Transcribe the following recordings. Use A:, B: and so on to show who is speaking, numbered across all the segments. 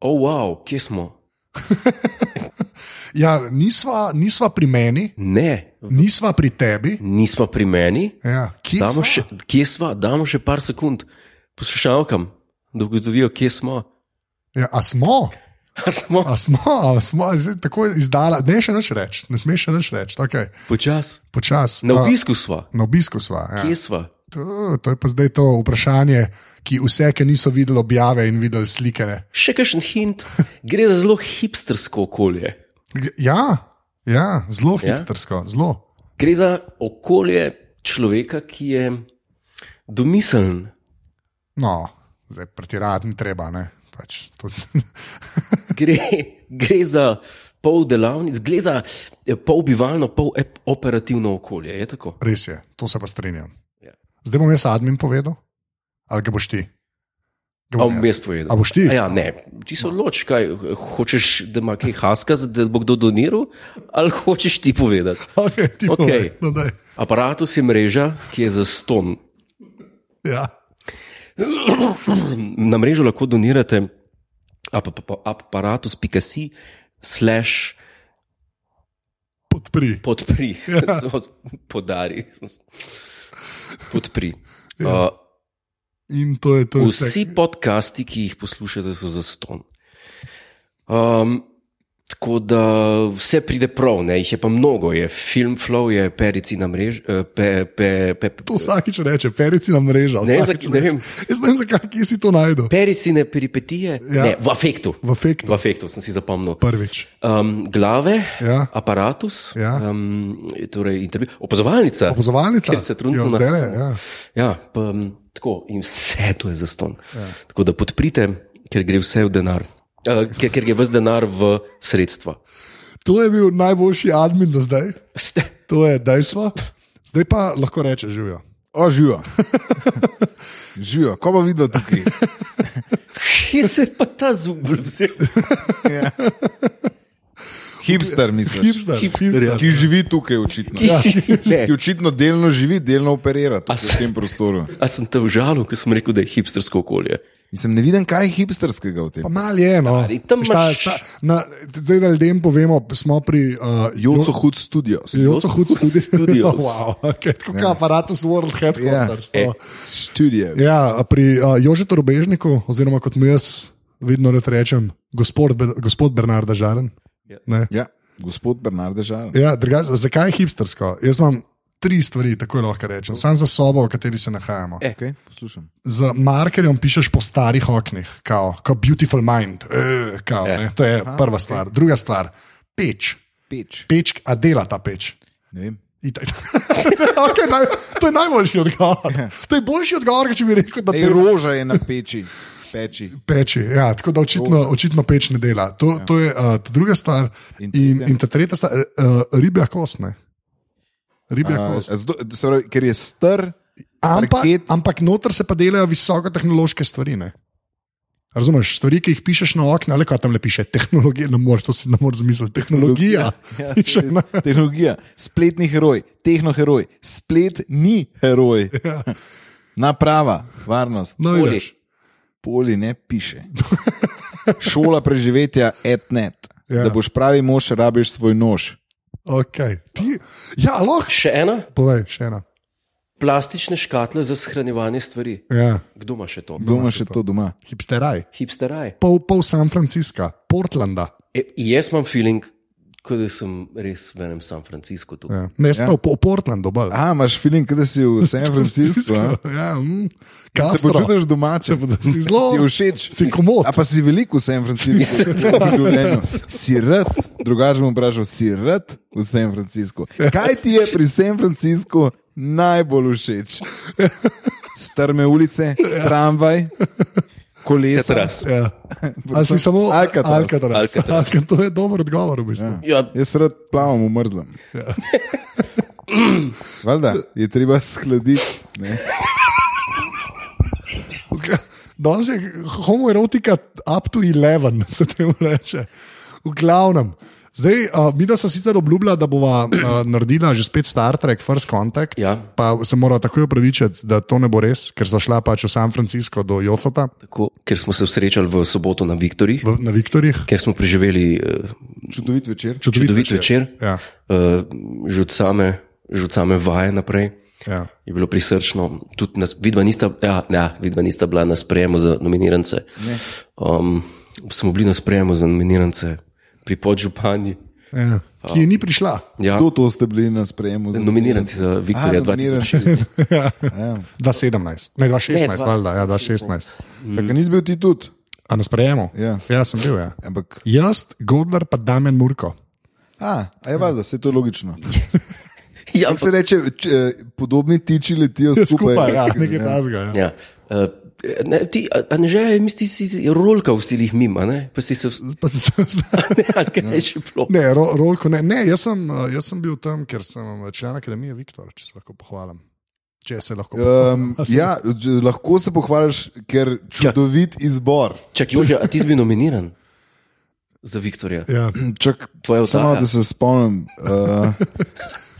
A: oh, wow, kje smo?
B: Ja, nisva, nisva pri meni,
A: Ne,
B: nisva pri tebi.
A: nismo pri meni,
B: Ja, kje
A: damo
B: sva?
A: še, kje smo, damo še par sekund poslušalkam, da ugotovijo, kje smo.
B: Ja, a smo?
A: A smo
B: A smo, a smo a zdaj tako izdala, ne še nič reči, ne smeš še nič reči, okay.
A: počasi,
B: počasi.
A: na
B: A,
A: obisku smo,
B: Na obisku sva. Ja.
A: kje smo.
B: To, to je pa zdaj to vprašanje, ki vse, ki niso videli objave in videli slike. ne.
A: Še kakšen hint, gre za zelo hipstersko okolje.
B: G- Ja, ja zelo
A: Ja.
B: hipstersko, zelo.
A: Gre za okolje človeka, ki je domiseln.
B: No, zdaj pretirati ni treba. Ne? Pač, to,
A: Gre, gre za pol delavnic, gre za eh, pol bivalno, pol ep- operativno okolje. Je tako?
B: res je, to se pa strinjam.
A: Ja.
B: Zdaj bom jaz admin povedal, ali ga boš ti?
A: A
B: Ga
A: bom
B: bom jaz.
A: jaz povedal.
B: A boš ti?
A: A Ja, ne, ti se odloči, kaj hočeš, da ima kaj haska, da bo kdo doniral, ali hočeš ti povedati.
B: Okay, ti
A: Okej.
B: povej, no, daj.
A: Aparatus je mreža, ki je za ston.
B: ja.
A: Na mrežo lahko donirate aparatus.si slash
B: Podpri.
A: podpri,
B: Ja.
A: podari. Podpri. Uh,
B: Ja. In to je to. vse.
A: Vsi podcasti, ki jih poslušate, so za ston. Um, tako da vse pride prav, ne? jih je pa mnogo, je film flow, je perici na mreži. Pe, pe, pe,
B: To vsakič reče, perici na mrežo.
A: Ne,
B: vsakič
A: za- ne
B: reče.
A: vem.
B: Jaz ne vem, zakaj kje si to najdel.
A: pericine peripetije,
B: Ja.
A: ja. ne, v afektu.
B: V efektu
A: V afektu sem si zapomnil.
B: prvič.
A: Um, glave,
B: Ja.
A: aparatus,
B: Ja.
A: um, torej intervju, opazovalnica.
B: Opozovalnica,
A: Ker se trenutno
B: jo
A: na-
B: zdajle, ja.
A: Ja, pa, um, tako in vse to je za ston. Ja. Tako da podprite, ker gre vse v denar. Uh, ker, ker gre vse denar v sredstva.
B: To je bil najboljši admin do zdaj,
A: Ste,
B: to je dejstvo. Zdaj pa lahko reče, živijo.
C: O, živijo. živijo, ko bo videl tukaj.
A: kje se je pa ta zub vzel?
C: Hipster, mislim.
B: Hipster,
A: Hipster,
B: hipster.
C: Ki živi tukaj, očitno.
A: Ja.
C: Ki očitno delno živi, delno operira tukaj,
A: se-
C: v tem prostoru.
A: A sem te užalil, ker sem rekel, da je hipstersko okolje.
C: Mislim, ne vidim, kaj je hipsterskega v tem.
B: Pa mal je, no.
A: Stari, tam
B: Veš, ta-
A: imaš-
B: ta- na- Zdaj, da ljudem povemo, smo pri uh,
C: Joco Hood Studios.
B: Joco Hud
A: Hud
B: studiu.
A: Studios.
B: wow, okay, tako kot aparatus World Headquarters.
C: Ja.
B: Yeah.
C: Studio.
B: Ja, pri uh, Jožetu Rubežniku, oziroma kot mu jaz vedno rad rečem, gospod, Ber, gospod Bernarda Žaren.
A: Ja.
B: Ne?
C: Ja, gospod Bernard Žal.
B: Ja, drugač, zakaj je hipstersko? Jaz imam tri stvari, tako lahko rečem, sam za sobo, v kateri se nahajamo.
A: E.
C: Okay, poslušam.
B: Z markerjem pišeš po starih oknih, kao, kao Beautiful Mind, e, kao,
A: Ja.
B: ne? to je prva stvar. Druga stvar, peč,
C: Peč.
B: peč, a dela ta peč.
C: Ne vem.
B: Itak. okay, naj, to je najboljši odgovor. To je boljši odgovor, kot če bi rekel, da
C: Ej,
B: dela
C: roža je na peči. Peči.
B: peči. Ja, tako da očitno, očitno peč ne dela. To, ja. to je uh, ta druga stvar. In,
C: In
B: in,
C: tretja?
B: in ta tretja stvar, uh, ribja kost. Ne? Ribja
C: A,
B: kost.
C: zato- se pravi, ker je star,
B: Ampak,
C: parket-
B: ampak noter se pa delajo visoko tehnološke stvari. Ne? Razumeš, stvari, ki jih pišeš na okna, ali kaj tam le piše, tehnologija, ne moreš, to si ne moreš zmisliti, tehnologija.
C: Ja,
B: Piše
C: res.
B: na-
C: tehnologija, spletni heroj, tehnoheroj, splet ni heroj.
B: Ja.
C: Naprava, varnost,
B: No,
A: Oli.
B: vidiš.
C: poli ne piše. Šola preživetja, etnet.
B: Ja.
C: Ja. Da boš pravi mož, rabiš svoj nož.
B: Okay. Ti, ja, lahko.
A: Še ena,
B: Povej, še ena.
A: plastične škatle za shranjevanje stvari.
B: Ja.
A: Kdo ima še to?
C: Kdo ima še to doma?
B: Hipsteraj,
A: Hipsteraj.
B: pol, pol San Francisca, Portlanda.
A: E, jaz imam feeling, kot da sem res v enem San Franciscu tu.
B: Ja. Ne, spal ja. po Portlandu, bolj.
C: A, imaš film, da si v San Franciscu. a?
B: Ja, mm.
C: Se
B: Castro.
C: počutiš domače,
B: si zelo-
C: ti je všeč.
B: si komot.
C: A pa si veliko v San Franciscu, v življenju. Si rad, drugače bom vprašal, si rad v San Franciscu. Kaj ti je pri San Franciscu najbolj všeč? Strme ulice, tramvaj, kolesa.
A: Teraz.
B: Ja. Ali si samo
C: Alcatraz.
B: Alcatraz.
A: Alcatraz.
B: Alcatraz. To je dober odgovor, v bistvu. Ja.
A: Ja,
C: Jaz rad plavam v mrzlem. Valjda je treba skladiti. ne.
B: Danes je homoerotika up to 11, se temu reče. V glavnem. Zdaj, uh, mi smo sicer obljubljali, da bova uh, naredila že spet Star Trek, First Contact.
A: Ja.
B: Pa se mora takoj opravičiti, da to ne bo res, ker so šla pač v San Francisco do Jocota
A: Tako, ker smo se srečali v soboto na Viktorjih,
B: v, na Viktorjih.
A: ker smo preživeli eh,
C: Čudovit večer.
B: Čudovit
A: čudovit večer,
B: Ja,
A: eh, že od same, že od same vaje naprej.
B: ja.
A: Je bilo prisrčno, tudi nas, vidva nista, ja, ja, vidva nista bila na sprejemu za nominirance. Um, smo bili na sprejemu za nominirance pri podžupanji,
B: Ja. Ki je ni prišla.
A: ja,
C: Kdo to ste bili na sprejemu?
A: nominiranci za Viktorja
C: A, nominiranci.
A: 2016.
C: Ja.
B: Da 17, ne da 16,
A: Ne, dva-
B: valjda, ja, da 16.
C: Tako nisi bil ti tudi.
B: A na sprejemu?
C: Ja.
B: ja sem bil. Ja.
C: Ampak,
B: Jaz, Gordler, pa Damien Murko.
C: a, a je valjda, se to je logično.
A: Ja,
C: Kako se reče, če, eh, podobni tiči letijo skupaj.
B: Skupaj, ja, nekaj tazga. Ja.
A: Ja. Uh, ne, ti, a, a ne že, misli si rolka v silih mima, ne? pa si se vse.
B: Pa se sem zdaj.
A: Ne, ali kaj je še bilo.
B: Ne, ro, rolko ne. ne jaz, sem, uh, jaz sem bil tam, ker sem eh, član akademije Viktor, če se lahko pohvalim. Če se lahko pohvalim.
C: Um, ja, ž- lahko se pohvališ, ker čudovit izbor.
A: Čak, Jože, a ti si bil nominiran za Viktorja?
B: Ja.
C: Čak,
A: Tvoja
C: samo
A: oddaja.
C: da se spomnim.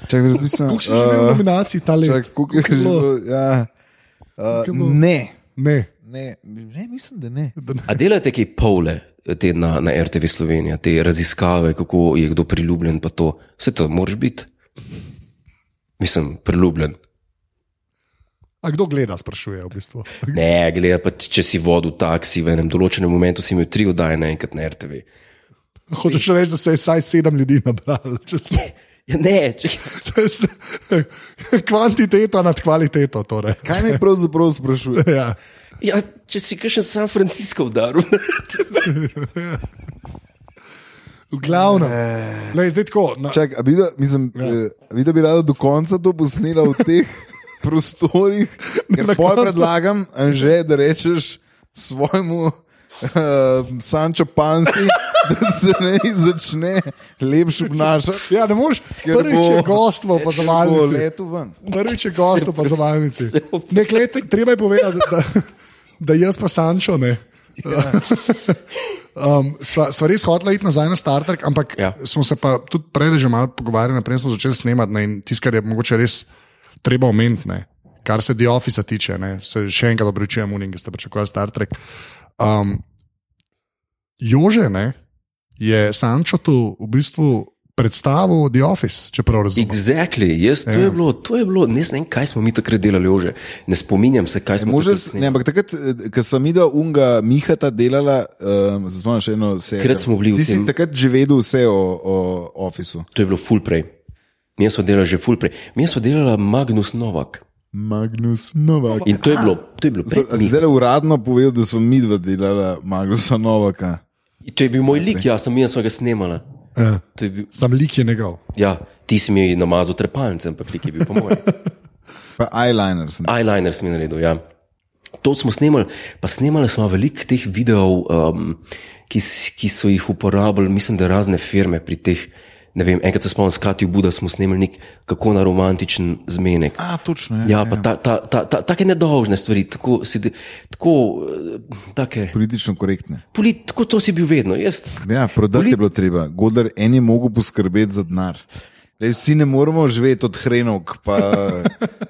C: Uh, čak, da razmislim.
B: Kako si že bil v
C: eh,
B: nominaciji ta let?
C: čak, koliko je že
B: bilo?
C: bilo? Ja. Eh,
B: je bilo?
C: Ne.
B: Ne,
C: Ne, ne, mislim, da ne.
A: A delate kaj pole te na, na RTV Slovenija, te raziskave, kako je kdo priljubljen, pa to. Vse to moraš biti. Mislim, priljubljen.
B: a kdo gleda, sprašuje v bistvu.
A: Ne, gleda pa, če si vodil taksi v enem določenem momentu, si imel tri oddaje naenkrat na RTV.
B: Hočeš reči, da se je vsaj sedem ljudi nabralo. če Se,
A: Ja, ne, če,
B: se, se, kvantiteta nad kvaliteto. Torej.
C: Kaj me pravzaprav sprašuje?
B: Ja.
A: ja, če si kakšen San Francisco udaril na RTV.
B: V glavnem, Lej, zdaj tako. Na,
C: Čak, a bi da, mislim, eh, a bi da bi rada do konca to posnela v teh prostorih,
B: Na
C: ker poj
B: koncu.
C: predlagam, Anže, da rečeš svojemu uh, Sančo Pansi, da se ne začne lepše obnašati.
B: ja, ne moreš.
C: ker
B: Prvič je gostvo, pa
C: ker bo
B: zavalnici.
C: letu ven.
B: Prvič je gost v opazovalnici. Nek let, treba je povedati, da, da jaz pa Sančo ne. Um, sva, sva res hotela iti nazaj na Star Trek, ampak ja.
A: Ja.
B: smo se pa tudi prej že malo pogovarjali, prej smo začeli snemati ne, in tisto, kar je mogoče res treba omeniti, ne, kar se The Office tiče, ne, se še enkrat obračujem unim, ki ste pričakovali Star Trek. Um, Jože ne, je Sančo tu v bistvu predstavil The Office, če prav razumem.
A: Exactly. Jaz, to, ja. je bilo, to je bilo, ne vem, kaj smo mi takrat delali, že ne spominjam se, kaj smo
C: Može,
A: takrat
C: s- ne,
A: snemali.
C: ampak takrat, eh, ko smo mi dva unga Mihata delala, um, se spomniš še eno serijo.
A: Takrat smo bili v
C: Ti si
A: tem-
C: takrat že vedel vse o, o ofisu.
A: To je bilo ful prej. Mi smo delali že ful prej. Mi smo delali Magnus Novak.
C: Magnus Novak.
A: In to je bilo, to je bilo prej.
C: Z-
A: mi.
C: Zdaj je uradno povedal, da smo mi dva delala Magnusa Novaka.
A: To je bil moj lik, ja, sem jaz sva ga snimala.
B: Ja.
A: To je bil,
B: Sam lik je njegov.
A: ja, ti si mi namazal trepalnice, ampak lik je bil po mojem.
C: Pa eyeliner sem.
A: Eyeliner sem ji naredil, ja. To smo snimali, pa snimali smo veliko teh videov, um, ki, s- ki so jih uporabljali, mislim, da razne firme pri teh. Ne vem, enkrat se spomnim, s Katijo Buda smo snimali nek kako na romantičen zmenek.
C: A, točno je.
A: Ja, pa ta, ta, ta, ta, take nedolžne stvari, tako, si, de- tako, eh, take,
C: Politično korektne.
A: polit, tako to si bil vedno. Jaz,
C: Ja, prodati je bilo treba. Godler en je mogel poskrbeti za denar. Lej, vsi ne moremo živeti od hrenovk, pa,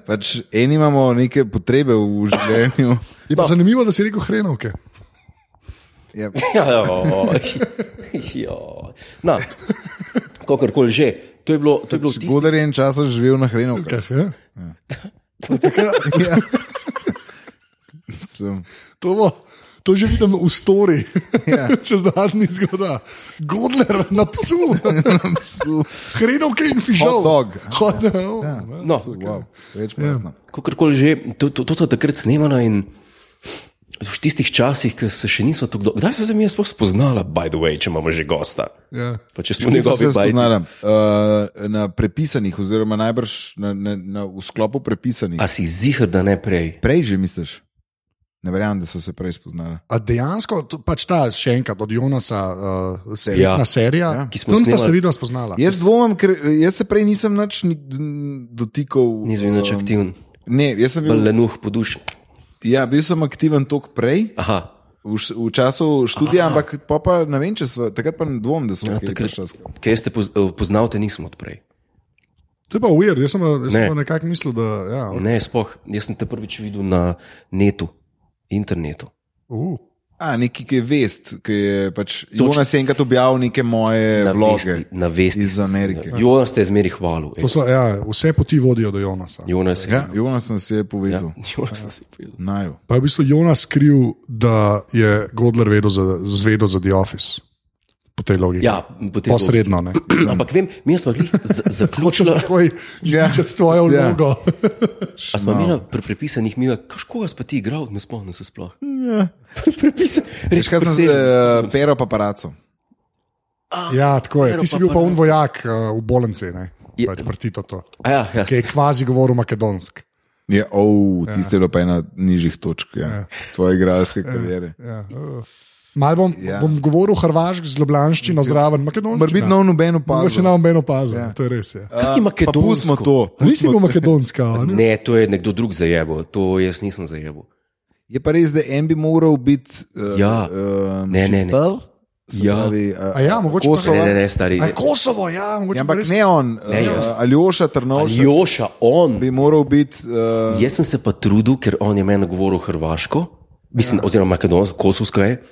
C: pač eni imamo neke potrebe v življenju.
B: Je pa zanimivo, da si rekel hrenovke.
C: Ja,
A: ja, ja. No, kakorkoli že, to je bilo, to je bilo
C: pač
A: tisto.
C: Godler je en čas živel na hrenovkah.
B: Kaj, ja?
C: Ja. Mislim,
B: to, bo, to že vidim v stori, ja. čez zadnji zgoda. Godler na psu,
C: psu.
B: hrenovke in fižol.
C: Hot dog.
B: Hot dog. Ja.
A: No,
C: Wow, več pojasna.
A: kakorkoli že, to, to, to so takrat snemala in v tistih časih, ki se še niso tako dolgo. Kdaj so se mi jaz sploh spoznala, by the way, če imamo že gosta?
B: Ja.
A: Pa če smo
C: Če nismo
A: njegovi
C: se
A: bajti.
C: spoznali, uh, na prepisanih, oziroma najbrž na, na, na, v sklopu prepisanih.
A: A si zihar, da ne prej?
C: Prej že misliš? Ne verjamem, da so se prej spoznali.
B: A dejansko, to, pač ta še enkrat od Jonasa, uh, spletna ja.
A: Ja.
B: serija,
C: Ja.
B: ja.
A: Ki smo
B: tam sta
A: snemali.
B: se videla spoznala.
C: Jaz dvomim, ker eh, jaz se prej nisem nič ni- n- dotikal.
A: Nisem bil nič
C: um,
A: aktiven,
C: Ne, jaz sem
A: bolj
C: bil,
A: lenuh po duši.
C: ja, bil sem aktiven tok prej,
A: Aha,
C: V, š- v času študija, Aha. ampak pol pa ne vem, če smo takrat pa dvom, da smo kaj
A: Ja, Takrat,
C: prišli.
A: kaj ste poz, eh, poznal, te nisem odprej.
B: To je pa ujer, jaz sem, pa- jaz
A: Ne.
B: sem pa nekako mislil, da. Ja,
A: Ne, spoh. Jaz sem te prvič videl na netu, internetu.
B: uh,
C: A, neki, ki je vest, ki je pač.
A: Točno.
C: Jonas je enkrat objavil neke moje
A: Na
C: vloge.
A: vesti, na vesti.
C: Iz Amerike.
A: Jonas te je zmeri hvalil. ej.
B: to so, ja, vse poti vodijo do Jonasa.
A: Jonas je.
C: Ja, Jonas sem se je povezal. Ja.
A: Jonas si povedal.
C: Naju.
B: Pa je v bistvu Jonas kriv, da je Godler vedel za, zvedel za The Office. Po tej logiki.
A: Ja, po tej
B: Posredno. ne.
A: Ampak vem, mi smo jih
B: Hočem
A: zaključili.
B: takoj izničiti tvojo
C: Ja.
B: vlogo.
A: A smo imeli pri prepisanih minah, kako vas pa ti igral, ne spomnim se sploh. Pri prepisanih.
C: Veš, kaj sem se, uh, pero paparaco.
B: Ja, tako je.
A: Pero
B: Ti si
A: pa
B: bil pa
A: prvi.
B: un vojak uh, v bolnici, ne?
A: Je-
B: Pač prtito to,
A: Ja, ja.
B: ki je kvazi govoril makedonsk.
C: Je, oh, ja. tiste je bila pa ena nižjih točk ja. ja. tvoje igralske kariere. Ja.
B: Ja. Uh. Mal bom,
C: Ja.
B: ja. bom govoril hrvaški z ljubljanščino zraven,
C: Morbit
B: makedonščino.
C: nov noben upad.
B: Mogoče nam eno pazi, ja. to je res. Ja.
A: Kaki makedonsko?
C: Pustimo to.
B: Nisi bil makedonska, a ne?
A: Ne, to je nekdo drug zajebo, to jaz nisem zajebo.
C: Je pa res, da en bi moral biti. Uh,
A: Ja.
C: uh,
A: Ne, ne, ne. Ja.
C: Pravi, uh,
B: A ja, mogoče pa-
A: Ne,
C: Kosova.
A: ne, ne, stari.
B: A je Kosovo, ja, mogoče.
C: Ja,
B: Ja,
C: ampak ne on, ne,
A: Ne, jaz.
C: uh, Aljoša Trnovšek
A: Joša, on.
C: bi moral biti. Uh,
A: Jaz sem se pa trudil, ker on je meni govoril hrvaško, mislim, ja. oziroma makedonsko, kosovsko je.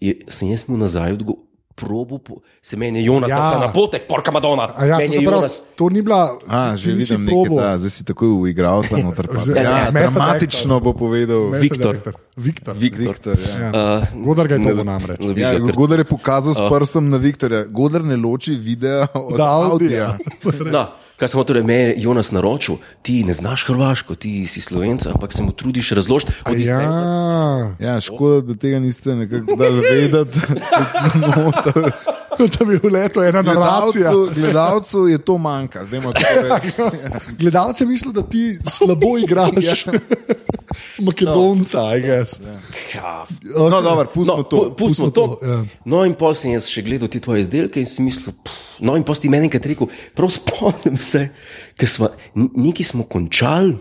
A: je sem jaz mu nazaj odgovoril, probo, po, se meni je Jonas,
B: Ja.
A: ja. ta napotek, porka Madonna.
B: A ja, to,
A: meni
B: se
A: je
B: pravi,
A: Jonas.
B: to ni bila.
C: A,
B: ti
C: že
B: nisi
C: vidim
B: probal.
C: nekaj, da, zdaj si takoj v igravca noter. pa-
B: Zdaj-
C: Ja,
B: Ja, method actor.
C: dramatično bo povedal
B: Method
A: Viktor.
B: actor. Viktor.
C: Viktor. Ja.
A: Uh,
B: Godar ga je dobil namreč.
C: Ja, Godar je pokazal s prstom na Viktorja. Godar ne loči videa od
B: Da,
C: Audija.
B: Audija.
A: Da, kaj sem torej meni, je Jonas naročil, ti ne znaš hrvaško, ti si slovenc, ampak se mu trudiš razložiti. od
B: Ja,
A: Islamca.
C: Ja, škoda, da tega niste nekako dali vedeti.
B: to bi bila to ena naracija.
C: Gledalcu, gledalcu je to manjka. Zdaj,
B: Gledalce mislijo, da ti slabo
C: Ja.
B: igraš. Makedonca, aj gess.
A: Ja,
C: no, dobro, pustimo
A: No,
C: to.
A: pu- pustimo
B: pustimo
A: to.
B: to, ja.
A: No, in pol sem jaz še gledal te tvoje izdelke in sem mislil, pff, no, in pol si ti meni enkrat rekel, prav spomnim se, ker smo neki smo končali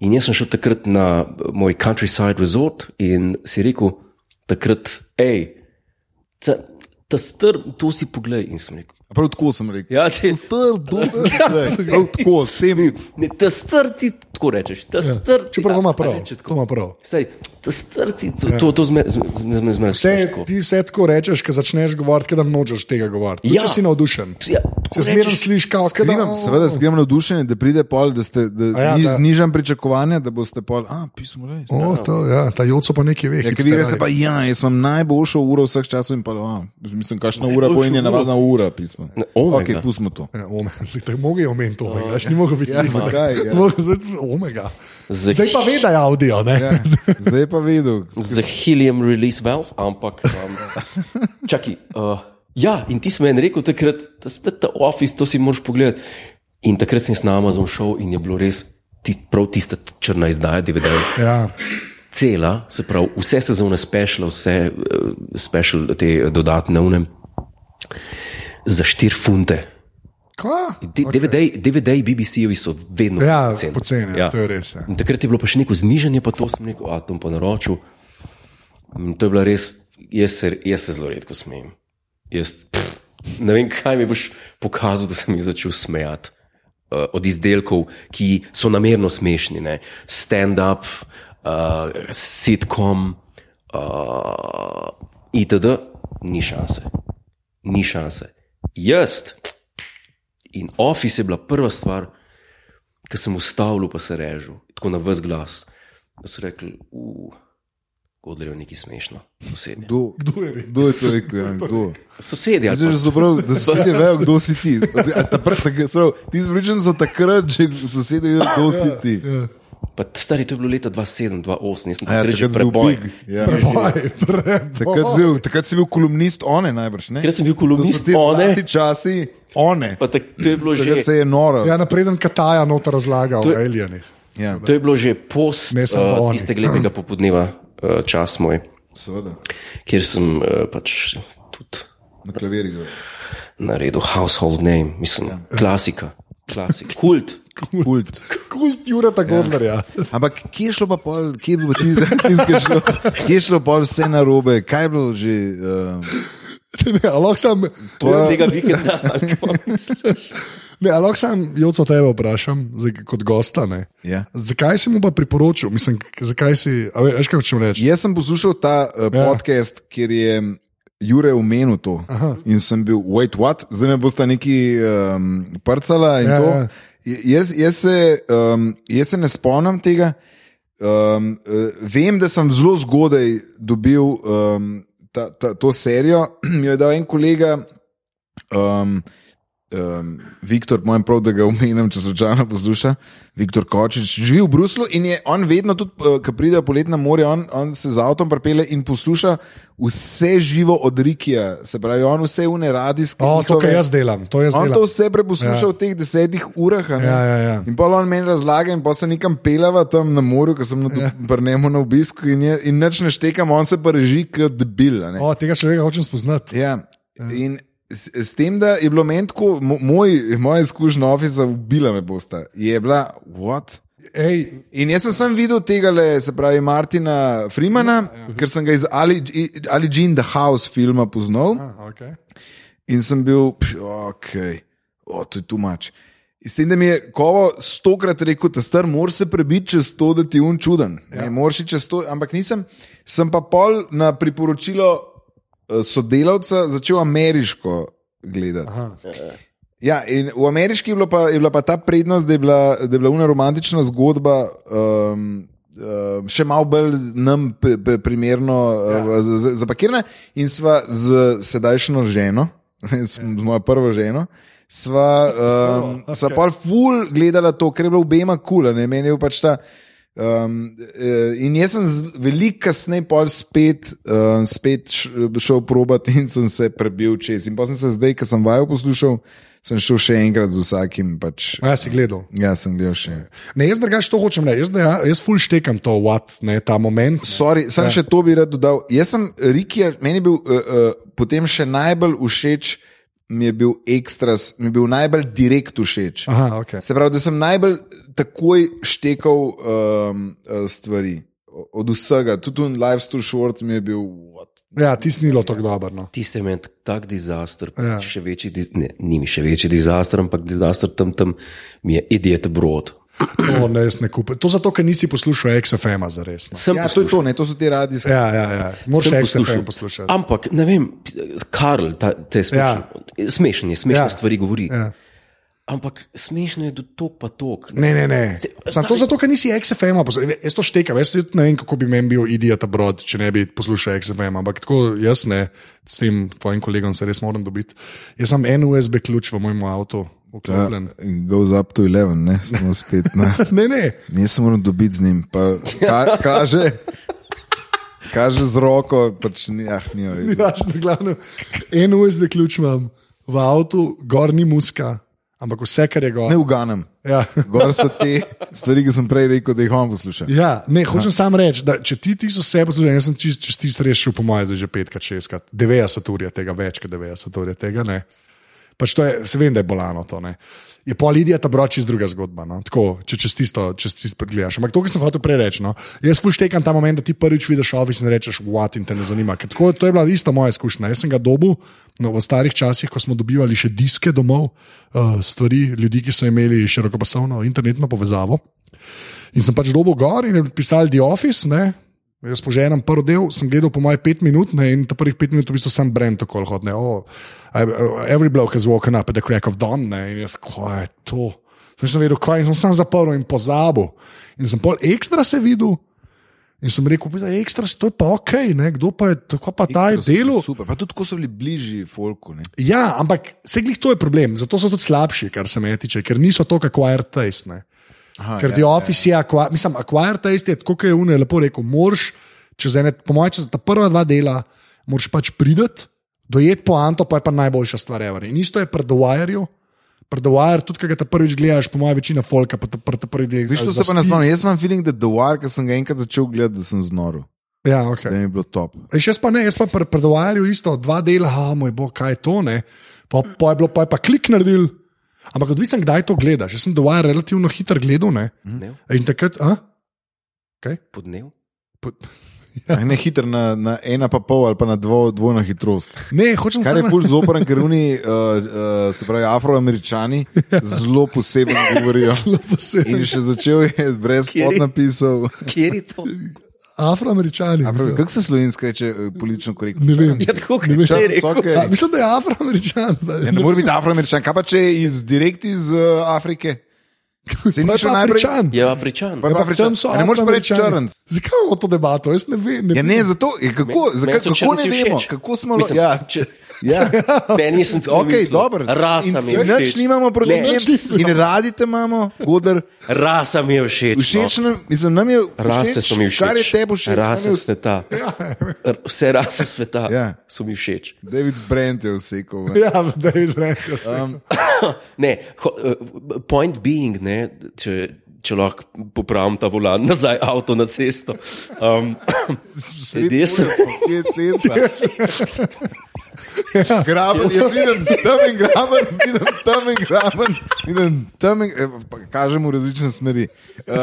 A: in jaz sem šel takrat na eh, moj countryside resort in si rekel, takrat, hej, ta strm, to si poglej. In sem rekel,
C: Prav tako sem rekel.
A: ja, te
C: Trdo se
A: Ja.
C: gre. Prav tako, s tem.
A: Ne, ta strti, tako rečeš, ta strti.
B: Ja, Čeprav
A: a-
B: ima
A: a
B: prav.
A: reče
B: to
A: tako,
B: ima prav. Ja.
A: Stari, ta strti, to, to, to zmeraj zmer, zmer,
B: Vse, ti vse tako rečeš, ko začneš govoriti, ker da nočeš tega govoriti. Tudi
A: Ja.
B: Če si navdušen,
A: Ja,
B: se
A: rečeš-
B: zmeraj slišiš, kao, kaj da.
C: Skrivam, seveda, skrivam navdušenje, da pride pol, da ste
B: A ja,
C: ja,
B: da.
C: ni, znižam pričakovanja, da boste pol. A, pismo res.
B: O, to, ja, ta joco pa nekaj ve.
C: Ja, ker vi
B: hipsteraj.
C: reste pa, ja, jaz imam najboljšo uro vseh časov in pa, a, mislim, kakšna ura bo in
A: Najboljšo
C: je navadna ura, pismo.
A: Ne, omega.
C: Ok, pustimo to.
B: Ja, omega. Tako Mogoče je omeniti to, veš, ni mogel biti
C: Ja,
B: tisto.
C: zakaj, ja.
B: Mogel zdaj omega.
A: Za-
B: Zdaj pa ve, da je avdio, ne?
C: Ja, zdaj pa vedel.
A: za helium release valve, ampak um, čakaj. Uh, ja, in ti si meni rekel takrat, da si ta office, to si moraš pogledati. In takrat sem jaz na Amazon šel in je bilo res tist, prav tista črna izdaja DVD-ja.
B: Ja.
A: cela, se pravi, vse sezone special, vse uh, special, te eh, dodatne unem, za 4 funte.
B: Kva?
A: D- DVD, DVD-ji, BBC-ji so vedno
B: Ja,
A: poceni.
B: poceni, ja, to je res, ja.
A: In takrat je bilo pa še neko znižanje, pa to sem rekel, a to bom pa naročil. In to je bilo res, jaz se, jaz se zelo redko smejim. Jaz, pff, ne vem, kaj mi boš pokazal, da sem jaz začel smejati. Uh, od izdelkov, ki so namerno smešni, ne? stand-up, uh, sitcom, uh, itd., ni šanse. Ni šanse. Jaz in Office je bila prva stvar, ki sem ustavil, pa se režil, tako na vse glas. Da so rekli, ugodljajo neki smešno, sosedje.
C: Kdo,
B: Kdo je rekel?
C: kdo je to rekel? Ja, kdo?
A: Sosedje, ali
C: Zdaj že
A: pa,
C: zobral, da sosedje vejo, kdo si ti. A ta pr- tak- prav, Ti zbričen so takrat, že sosedje vejo, kdo si ti.
B: Ja.
A: pa stari, to je bilo leta 2007, 2008, nisem
C: A ja,
A: takrat že
C: takrat si bil
A: preboj.
C: big. Ja.
B: Preboj, preboj.
C: Takrat si bil- Takrat si bil kolumnist one najbrž, ne?
A: Takrat sem bil
C: To
A: kolumnist
C: so ti
A: One.
C: zlati časi one.
A: Pa tak, to je bilo
C: Takrat se
A: že.
C: je noro.
B: Ja, napreden Kataja noter razlaga o alienih.
C: Ja,
A: To je bilo že post
B: Ne samo
A: uh,
B: oni.
A: tistega lepega popodneva, uh, čas moj,
C: seveda.
A: kjer sem uh, pač tudi
C: Na klavirju.
A: naredil household name, mislim, ja. klasika, klasik, kult.
C: Kult.
B: Kult ja.
C: Ja.
B: Jurata Godlerja.
C: Ampak kje je šlo pa pol, kje je bilo tisto, ki je šlo, kje je šlo pol vse na robe, kaj je bilo že. Uh,
B: Ne, a Lahko sam,
A: To je tega vikenda. ali kako?
B: ne, a lahko sam Joco tebe vprašam, zdaj kot gosta. Ne.
C: ja.
B: Zakaj si mu pa priporočil? Mislim, k- zakaj si, a ve- veš, kaj hočem reči?
C: Jaz sem poslušal ta uh,
B: Ja.
C: podcast, kjer je Jure omenil to.
B: Aha.
C: In sem bil, wait, what, zdaj me bosta neki um, prcala in
B: Ja,
C: ja, to.
B: ja.
C: J- Jaz, jaz, se, um, jaz se ne spomnim tega. Um, eh, vem, da sem zelo zgodaj dobil um, ta, ta, to serijo. Jo je dal en kolega, um, um, Viktor, mojem prav, da ga omenjam, če slučajno posluša, Viktor Kočič, živi v Bruslu in je on vedno, tudi eh, ko pride poletna morja, on, on se z avtom pripele in posluša vse živo od Rikija, se pravi, on vse uneradijske.
B: O, to, kar jaz delam, to jaz
C: On to
B: delam.
C: vse preposluša
B: Ja.
C: ja. v teh desetih urah. a ne.
B: Ja, ja, ja.
C: In pa on meni razlaga, in pa se nekam pelava tam na morju, ker sem na, ja. na obisku in, je, in nič ne štekam, on se pa reži kot debil. a ne.
B: O, tega človeka hočem spoznati.
C: Ja. In s, s tem, da je bilo meni tako, mo- moj, moja izkušnja ofisa, ubila me bosta, je bila, what?
B: Ej,
C: In jaz sem sam videl tega, le, se pravi, Martina Freemana, ker sem ga iz Ali, i- Ali Jean the House filma poznal.
B: a, okay.
C: In sem bil, ok, o, to je tumač. S tem, da mi je Kovo stokrat rekel, da star moraš se prebiti čez to, da ti je un čuden. Ja. Ne moreš iti čez to, ampak nisem. Sem pa pol na priporočilo eh, sodelavca začel ameriško gledati.
B: Aha.
C: Ja, in v ameriški je bila pa, je bila pa ta prednost, da je bila, da je bila una romantična zgodba. Um, Um, še malo bolj nam pri- pri- primerno ja. zapakirana, in sva z sedajšnjo ženo, s, z mojo prvo ženo, sva, um,
B: Prvo,
C: sva
B: okej.
C: pa ful gledala to, ker je bilo obema kul, cool, meni je bil pač ta. Um, eh, in jaz sem z- veliko kasneje pol spet, um, spet š- šel probat in sem se prebil čez. In pa sem se zdaj, ker sem vajo poslušal, sem šel še enkrat z vsakim. Pač,
B: a, si gledal.
C: ja, sem gledal še.
B: Ne, jaz drugače to hočem reči. Jaz, deja- jaz ful štekam to, what, ne, ta moment.
C: Sorry, sem ja. še to bi rad dodal. Jaz sem Rikija, meni je bil uh, uh, potem še najbolj všeč, mi je bil ekstras, mi je bil najbolj direkt všeč.
B: Aha, okay.
C: Se pravi, da sem najbolj takoj štekal um, eh, stvari, O- od vsega. Tudi un live stream short mi je bil. What?
B: Ja, tisnilo tako dobro. No.
A: Tiste je meni tak dizaster, ja.
B: Ja.
A: še večji, diz- ne, ni mi še večji dizaster, ampak dizaster tam tam mi je idiot brod.
B: To ne, jaz ne kupim. To zato, ker nisi poslušal XFM-a za res. No.
A: Sem
C: Ja, to je to, ne, to so ti radijski.
B: Ja, ja, ja. Moraš
A: Sem
B: XFM poslušati.
A: Ampak ne vem, Karl, ta, te smešne, ja. smešne, smešne
B: Ja.
A: ja. stvari govori. Ja.
B: Ja.
A: Ampak smešno je do tok pa tok.
C: Mhm.
B: Ne, ne, ne. Sam to zato, ker nisi XFM-a poslušal. Jaz to štekam, jaz tudi ne vem, kako bi meni bil idiot abroad, če ne bi poslušal XFM, ampak tako jaz ne, s tem tvojim kolegom se res moram dobiti. Jaz sem en USB ključ v mojem avtu, uklopljen.
C: Ja. Goes up to 11, ne, smo spet na.
B: Ne, ne.
C: Jaz se moram dobiti z njim, pa ka, kaže, kaže z roko, pač ni, ah, ni
B: Ni
C: več.
B: važno, glavno. En USB ključ imam v avtu, gor ni muska, ampak vse, kar je gor.
C: Ne uganem.
B: Ja.
C: Gor so te stvari, ki sem prej rekel, da jih on posluša.
B: Ja, ne, hočem samo reči, da če ti tisoč vse poslušaš, jaz sem čist, čist tisti rešil, po mojem, zdaj že petkrat, šestkrat, 90 ur je tega, več kot 90 ur je tega. Ne. Pač to je, se vem, da je bolano to. Ne. Je pa Lidija ta broč iz druga zgodba, no. tako, če čez tisto, čez tisto pogledaš. Ampak to, kar sem hotel prej reči, no. jaz poštekam ta moment, da ti prvič vidiš office in rečeš, what in te ne zanima. Ker tako, to je bila ista moja izkušnja. Jaz sem ga dobil no, v starih časih, ko smo dobivali še diske domov, uh, stvari ljudi, ki so imeli širokopasovno internetno povezavo. In sem pač dobil gor in je pisal The Office. Ne? Jaz poženem prvi del, sem gledal po mojih pet minut ne, in ta prvih pet minut v bistvu sem brem tako hodne. Oh, I, uh, every bloke has woken up at the crack of dawn. Ne? In jaz, kaj je to? Sem nisem vedel, kaj in sem sam zaprl in pozabil. In sem pol ekstra se videl. In sem rekel, da je ekstra, to je pa ok, ne? kdo pa je, kako pa ta Ja, je delal.
C: Super, pa tudi ko so bili bližji folku. Ne.
B: Ja, ampak se glih to je problem, zato so tudi slabši, kar se me tiče, ker niso to, kako je taste. ne.
C: Aha, ja.
B: Ker The Office je, acqui- mislim, acquired taste je, tako kot je Uno lepo rekel, moraš, čez ene, po mojem, čez ta prva dva dela, moraš pač prideti, dojeti poanto, pa je pa najboljša stvar. Ever. In isto je pri The Wireu. Pri The Wire, tudi kaj ta prvič gledaš, po mojem, večina folka, pa ta, pa ta prvi del.
C: Viš, to se pa ne spomnim. Jaz imam feeling, da The Wire, ki sem ga enkrat začel gledati, da sem znoril.
B: Ja, okay.
C: Da mi je bilo top.
B: Eš, jaz pa ne, jaz pa pri predovarju isto, dva dela, a moj bog, kaj je to ne. Pa, pa je bilo, pa je pa klik naredil Ampak odvisen, kdaj to gledaš. Jaz sem dovolj relativno hiter gledal. Ne?
A: Dnev,
B: In takrat, a?
A: podnev.
B: Po-
C: Ja. Ne hiter na, na ena pa pol ali pa na dvo, dvojno hitrost.
B: Ne, hočem
C: Kar je
B: samo-
C: pol zoperen, ker oni, uh, uh, se pravi, afroameričani zelo posebno govorijo.
B: Zelo posebno.
C: In še začel je brez
A: Kjeri?
C: podnapisov.
A: Kjer je to?
B: Afroameričani. mislim.
C: Kako se slovensko reče eh, politično korektno?
B: Ne vem.
A: Ja, tako kot
B: Ne vem.
A: je rekel.
C: Čak,
B: A,
C: čakaj.
B: Mislim, da je afroameričan.
C: Ja, ne more biti afroameričan, kaj pa če je iz, direkt iz uh, Afrike? Se
B: Pa je pa Afričan.
A: Je Afričan.
C: Pa je Ja, pa Afričan.
B: tam so
C: A Ne moreš pa reči
B: Afroameričani.
C: črnc.
B: Zakaj imamo to debato? Jaz ne vem. Ne
C: Ja,
B: vem.
C: ne, zato, ja, kako,
A: Meni-
C: zakaj,
A: meni so
C: kako ne
A: črnci
C: vemo,
A: všeč.
C: kako smo
A: Mislim,
C: lahko.
A: če-
C: Ja, ja.
A: Meni sem tako
C: Okej,
A: mislil.
C: dobro.
A: Rasa mi je
C: In Nič
A: všeč.
C: nimamo proti
A: Ne.
C: njim
B: Nič nisem.
C: in radi te imamo, odr.
A: Rasa mi je všeč. no.
C: Všeč nam, mislim, nam je
A: Rase
C: všeč,
A: so mi všeč.
C: Kar je tebi všeč. nam
A: Rase
C: je vse-
A: sveta. R- Vse rase sveta
C: Ja.
A: so mi všeč.
C: David Brent je vsekal. ven.
B: Ja, da je rekel. Um,
A: Ne, ho, eh, point being, ne, če, če lahko popravim ta volan nazaj, avto na cesto. Um, Ljudje so-
C: Kje je cesta?
B: Ja.
C: Graben, jaz vidim temen graben, vidim temen graben, vidim temen, eh, pa kažem v različne smeri. Uh,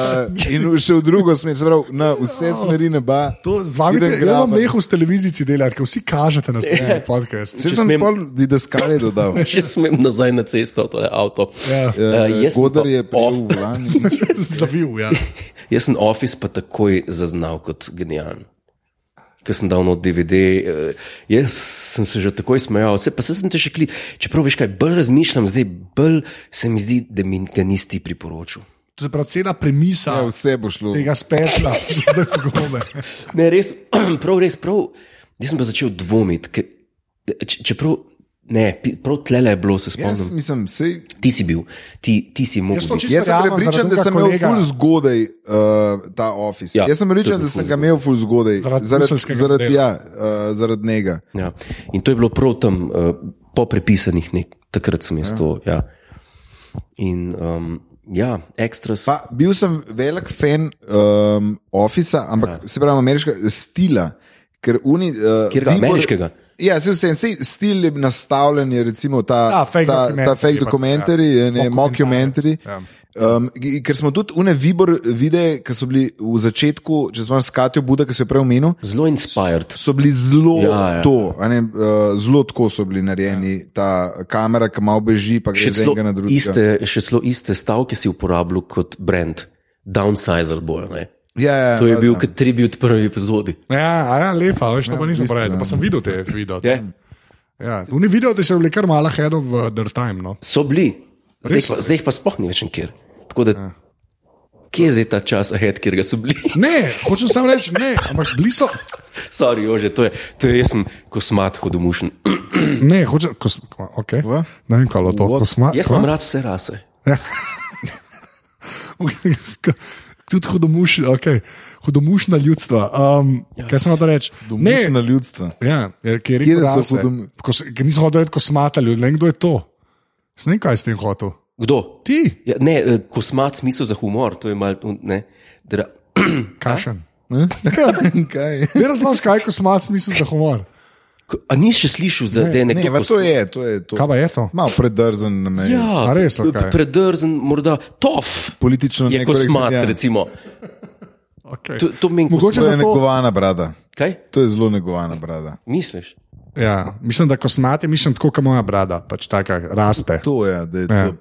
C: in v- še v drugo smer, se pravi, na vse smeri neba.
B: to z vami
C: vidim
B: je zelo
C: graben.
B: mehko s televizijo delati, ker vsi kažete na svoj podcast.
C: Ja. Saj
A: Če
C: sem
A: smem-
C: pol didaskale dodal.
A: če smem nazaj na cesto, to je avto.
B: Ja.
A: Eh, jaz sem
C: Godar
A: pa
C: je
A: off-
C: prijel v lani.
B: Zavil, ja.
A: Jaz sem Office pa takoj zaznal kot genijalen. Ker sem dal nov DVD, eh, jaz sem se že takoj smejal, se, pa se sem te še kli. Čeprav veš kaj, bolj razmišljam, zdaj bolj se mi zdi, da mi ga nisi ti priporočil.
B: To je prav cena premisa
C: Ja, vse bo šlo.
B: tega spetla, zdaj pogobe.
A: Ne, res, prav, res, prav. Jaz sem pa začel dvomiti, ker, če, čeprav ne, pi- prav tlele je bilo, se
C: Jaz
A: spomnim.
C: mislim, sej,
A: Ti si bil, ti, ti si mogel.
B: Jaz to
A: biti.
B: čisto
C: Jaz sem
B: verjamem,
C: prepričan,
B: zaradi
C: da
B: tega
C: sem imel
B: kolega.
C: ful zgodaj uh, ta office.
A: Ja,
C: Ja, Jaz sem
A: to je
C: prepričan,
A: bil
C: da
A: ful
C: sem ga imel ful zgodaj.
B: Zaradi bruseljskega
C: zaradi,
B: modela.
C: ja, uh, zaradi njega.
A: Ja. In to je bilo prav tam, uh, po prepisanih nek, takrat sem jaz ja. to. Ja. In um, ja, ekstras.
C: Pa, bil sem velik fan um, office, ampak ja. se pravi ameriškega stila. Ker uni, uh,
A: Katerega ameriškega?
C: Ja, se vse, vse stil je nastavljen, je recimo ta,
B: Ja, fake
C: ta, ta
B: documentary
C: fake
B: je pa-
C: dokumentari,
B: ja,
C: ja, mockumentary.
B: mockumentarec,
C: Ja. Um, ki- ker smo tudi une vibor videe, ki so bili v začetku, če smo skatijo Buda, ki so jo prej omenil,
A: Zelo inspired.
C: so bili zelo
A: Ja,
C: ja,
A: ja.
C: ja. to, a ne, uh, zelo tako so bili narejeni, ja. ta kamera, ki malo beži, pa gre
A: Še
C: z
A: celo
C: enega na drugega.
A: iste, še celo iste stavke si uporabljal kot brand, downsizer bojo. Ne?
C: Ja, ja,
A: To je
C: ja,
A: bil
C: ja.
A: kot tribut prvi epizodi.
B: Ja, a ja, lepa, veš, to pa nisem
C: ja.
B: pravil, pa sem videl te video.
A: Ja.
C: Mm.
B: Ja, v ni video, da so bili kar mala head of their time. No.
A: So bili, zdaj,
B: Res
A: pa, zdaj jih pa sploh ni več nikjer. Tako da,
C: Ja.
A: kje je zdaj ta čas, ahed, kjer ga so bili?
B: Ne, hočem samo reči, ne, ampak bili so.
A: Sorry, Jože, to je, to je jaz sem kosmat hodomušen.
B: Ne, hočem, kos, okay.
C: Kva?
B: ne vem, kaj je bilo to.
C: What?
B: Kosma,
A: Jaz imam rad vse rase.
B: Tudi hudomuš, okay. hudomušna ljudstva. Um,
A: Ja.
B: kaj sem hotel reči? Ne,
C: Mušna ljudstva.
B: Ja, ja, ki je
C: Kjer
B: rekel, da
C: so
B: so
C: hudom-
B: podobni. Nisem hotel reči kosmata ljudi, ne vem, kdo je to. Jaz Ne vem, kaj je s tem hotel.
A: Kdo?
B: Ti,
A: Ja, ne, eh, kosmat smisel za humor, to je malo. Ne, dra...
B: kašen.
C: Kaj?
B: Ti razložiš, kaj je kosmat smisel za humor.
A: Ko- A nisi še slišal, da da je nekdo
C: Ne, pa to
A: kos-
C: je, to je to.
B: Kaj pa je to?
C: Malo predrzen na meni.
A: Ja,
B: A res, ali kaj?
A: predrzen, morda tof.
C: Politično
A: Je
C: nekorektno,
A: kosmat,
C: ja.
A: recimo.
B: Okay.
A: To, to meni
B: Mogoče-
A: kosmat.
C: To je
B: Zato-
C: negovana brada.
A: Kaj
C: To je zelo negovana brada.
A: misliš?
B: Ja, mislim, da kosmat je mišljen tako, kot moja brada, pač taka raste.
C: To je, da je to.
B: Ja.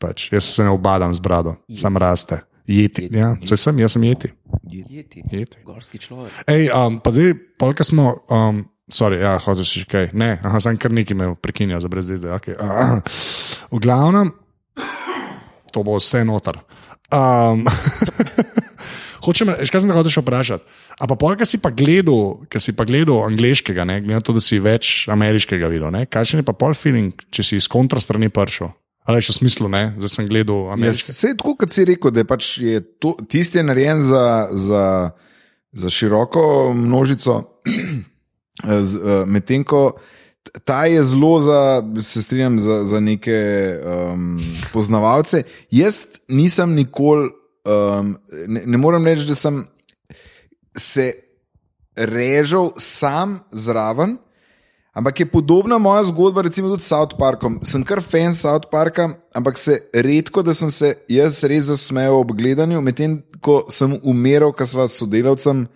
B: Pač, jaz se ne obadam z brado, sam raste. Jeti. Ja, saj sem, jaz sem jeti.
A: Jeti.
B: Jeti.
A: Gorski človek.
B: Ej, um, pa zdaj, polka smo. Um, Sorry, ja, hočeš še kaj. Ne, aha, sem kar nekaj me prekinja za brez zdaj. Okay. Uh, v glavnem, to bo vse noter. Um, hočem, še kaj sem hočeš vprašati. A pa polka si pa gledal, ker si pa gledal angliškega, ne, glede na to, da si več ameriškega videl. Ne? Kakšen je pa pol feeling, če si iz kontra strani pršel? Ali še v smislu, ne, zdaj sem gledal
C: Ja,
B: ameriški.
C: Vse je tako, kot si rekel, da je pač je to, tisti je narejen za, za, za široko množico, z, eh, medtem ko t- ta je zelo, za, se strinjam, za, za neke um, poznavalce. Jaz nisem nikoli, um, ne, ne morem reči, da sem se režal sam zraven. Ampak je podobna moja zgodba, recimo tudi s South Parkom. Sem kar fan South Parka, ampak se redko, da sem se jaz res zasmejal ob gledanju, medtem ko sem umiral, ker sva s sodelavcem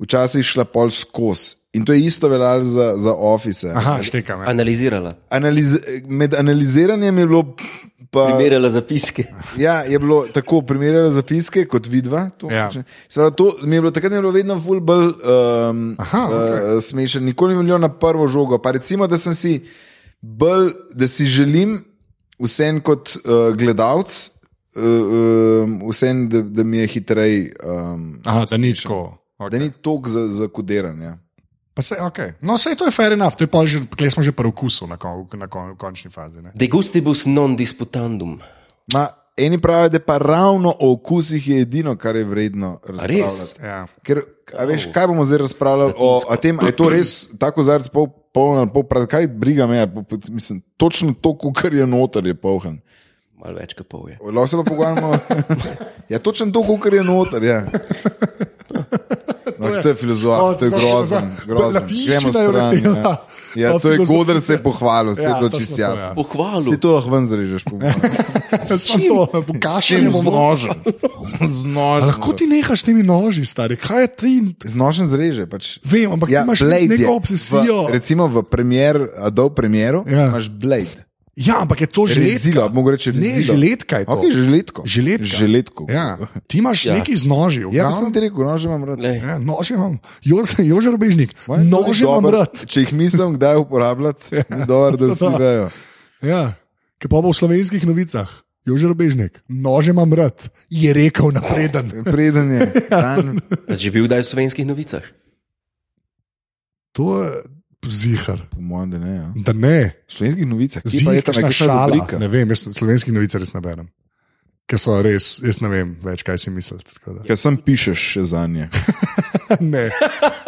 C: včasih šla pol skozi. In to je isto veljalo za, za office.
B: Aha, štekam. ja.
A: Analizirala,
C: Analiz med analiziranjem je bilo pa.
A: primerjala zapiske.
C: Ja, je bilo tako, primerjala zapiske kot vidva. To,
B: Ja.
C: ja. Seveda, to mi je bilo takrat mi je bilo vedno ful bolj um,
B: Aha,
C: uh, smešen, nikoli ni bilo na prvo žogo. Pa recimo, da sem si bolj, da si želim vsem kot uh, gledalec, uh, um, vsem, da, da mi je hitreje, um,
B: Aha, da ni tako.
C: da
B: Okay.
C: ni tok za, za kodiranje.
B: Pa Se, okay. No, vse to je fair enough, to je pa že, kle smo že pri okusu na, kon, na kon, končni fazi. Ne?
A: Degustibus non disputandum.
C: Ma, eni pravijo, da pa ravno o okusih je edino, kar je vredno razpravljati.
B: Ja.
C: Ker, a veš, kaj bomo zdaj razpravljali o, o tem, ali je to res tako zarec pol, poln ali pol prazen, kaj briga me, ja, po- po- mislim, točno to, kar je noter, je poln.
A: Malo več, kot pol je.
C: Lahko se pa pogovarjamo. Ja, točno to, kar je noter. Ja. No, to je
B: O,
C: filozofija, to je
B: zašel
C: grozen.
B: za-
C: grozen.
B: latinščina
C: Gremo
B: je
C: stran.
B: uletela.
C: Ja, ja
B: O,
C: to je
B: filozofija.
C: Godr se je pohvalil, vse je
B: Ja,
C: bilo
B: točno
C: čisto
B: to, ja.
C: jasno.
A: Pohvalu.
C: Se to lahko ven zrežeš, pomeni.
B: Sam to, pokažem
C: Z nožem. Z nožem. no.
B: Lahko ti nehaš s temi noži, stari. Kaj je ti?
C: Z nožem zreže. Pač.
B: Vem, ampak ja, imaš
C: blade
B: res
C: je.
B: neko obsesijo.
C: V, recimo v premier, Adobe Premieru
B: Ja.
C: ja. imaš Blade.
B: Ja, ampak je to že
C: Rezilo, mogoče reči
B: Ne,
C: rezilo.
B: žiletka je to.
C: Okay, žiletko.
B: Žiletka.
C: žiletko.
B: Ja, ti imaš ja.
A: Ja.
B: nekaj z noži, v
C: ja pa
B: glavnem.
C: sem ti rekel, no, že imam rad.
A: Glej,
B: Ja, nože imam, Jože, Jože Robežnik,
C: Moje je tudi
B: nože imam
C: dobro,
B: rad.
C: Če jih mislim, kdaj uporabljati, ja. dobro, da vsi
B: Da.
C: vejo.
B: Ja, ki pa bo v slovenskih novicah, Jože Robežnik, nože imam rad, je rekel napreden.
C: Preden je
B: Ja.
C: dan,
A: a Že bil kdaj v slovenskih novicah?
B: To je zihar,
C: po mojem, da ne. Ja.
B: da ne.
C: V slovenskih novicah, ki pa
B: Zihar
C: je
B: je
C: tam
B: ta
C: nekaj
B: šala.
C: šalika.
B: Ne vem, jaz slovenskih novic res ne berem. Ker so res, jaz ne vem več, kaj si mislite. tako da.
C: Ker sem pišeš še za nje. Ja.
B: ne,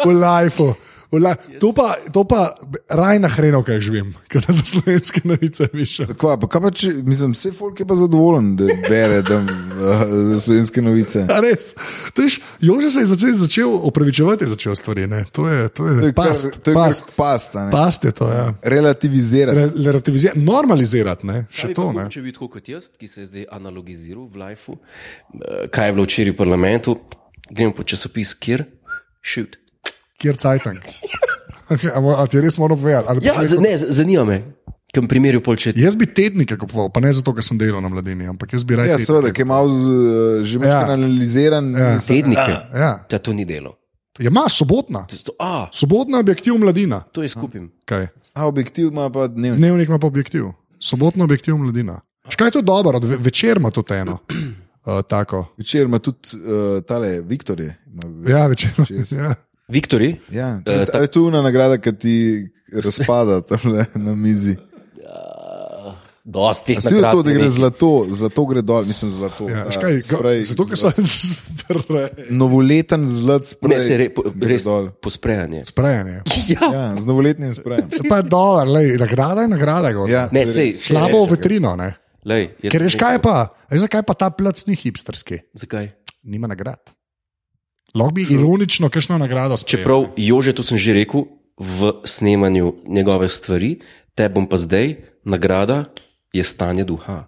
B: v lifeu. V la... To pa, to pa raj na hrenu, kaj živim, ker za slovenske novice više.
C: Kva, pa kaj pa če, mislim, vse folk je pa zadovoljen, da bere tam uh, slovenske novice.
B: A Res. To je š- Jože se je začel, začel opravičevati, je začel stvari. Ne? To je, to je,
C: To je kar-
B: past,
C: To je
B: past,
C: kar past. a ne.
B: past je to. Ja.
C: Relativizirati. Ja,
B: Re- relativizirati, Normalizirati, ne? še
A: Kaj bi
B: to.
A: pa
B: Ne?
A: bil, Če bi bil tako kot jaz, ki se je zdaj analogiziral v Lifeu, eh, kaj je bilo včeraj v parlamentu, gremo po časopis, kjer šut.
B: Kjer cajtank. Okay, a, mo- a ti res moramo povedati? ali
A: Ja,
B: boš
A: z-
B: rekel-
A: ne, z- zanima me, kam primerjal pol če.
B: Jaz bi tednike kupoval, pa ne zato, ker sem delal na mladini, ampak jaz bi raje.
C: Ja,
B: tednike.
C: seveda, ki je malo z, eh, že
B: Ja.
C: ja. analiziran. Ja.
A: Tednike.
B: Ja.
A: Ja, to ni delo.
B: ja, ima sobotna.
A: To- to- A,
B: Sobotna je objektiv mladina.
A: to je skupim.
B: Kaj?
C: A objektiv ima pa dnevni.
B: Dnevnik ima pa objektiv. Sobotno objektiv mladina. Škaj je to dobro, od ve- večer ima to eno. Uh, tako.
C: Večer ima tudi uh, tale Viktor. Je, ima,
B: Ja, večer.
C: Čez.
B: Ja.
A: Viktori,
C: ja.
A: Eh,
C: Uh,
A: ta-
C: ta... Je tu ena nagrada, ki ti razpada tamle na mizi.
A: dosti.
C: Vsi je to, da gre zlato, zlato gre dol, mislim zlato.
B: Ja,
C: a,
B: škaj,
C: sprej,
B: ga, zato, ker so zbrali.
C: Novoleten zlat
A: Ne,
C: sprej.
A: se re, po,
C: gre
A: res
C: dol.
A: posprejanje.
B: Sprejanje.
A: Ja,
C: Ja, z novoletnim sprejem.
B: Pa je dobro, lej, nagrada je nagrada. gor.
C: Ja,
A: ne,
C: to je
A: sej,
C: res.
B: Slabo v vetrino, ne.
A: Lej, jaz
B: Ker
A: sem
B: veš, kaj je
A: rekel-
B: pa, a veš, zakaj pa ta plac ni hipsterski,
A: Zakaj?
B: nima nagrad. Lahko bi ironično kakšno nagrado sprejel.
A: Čeprav, Jože, to sem že rekel v snemanju njegove stvari, te bom pa zdaj, nagrada je stanje duha.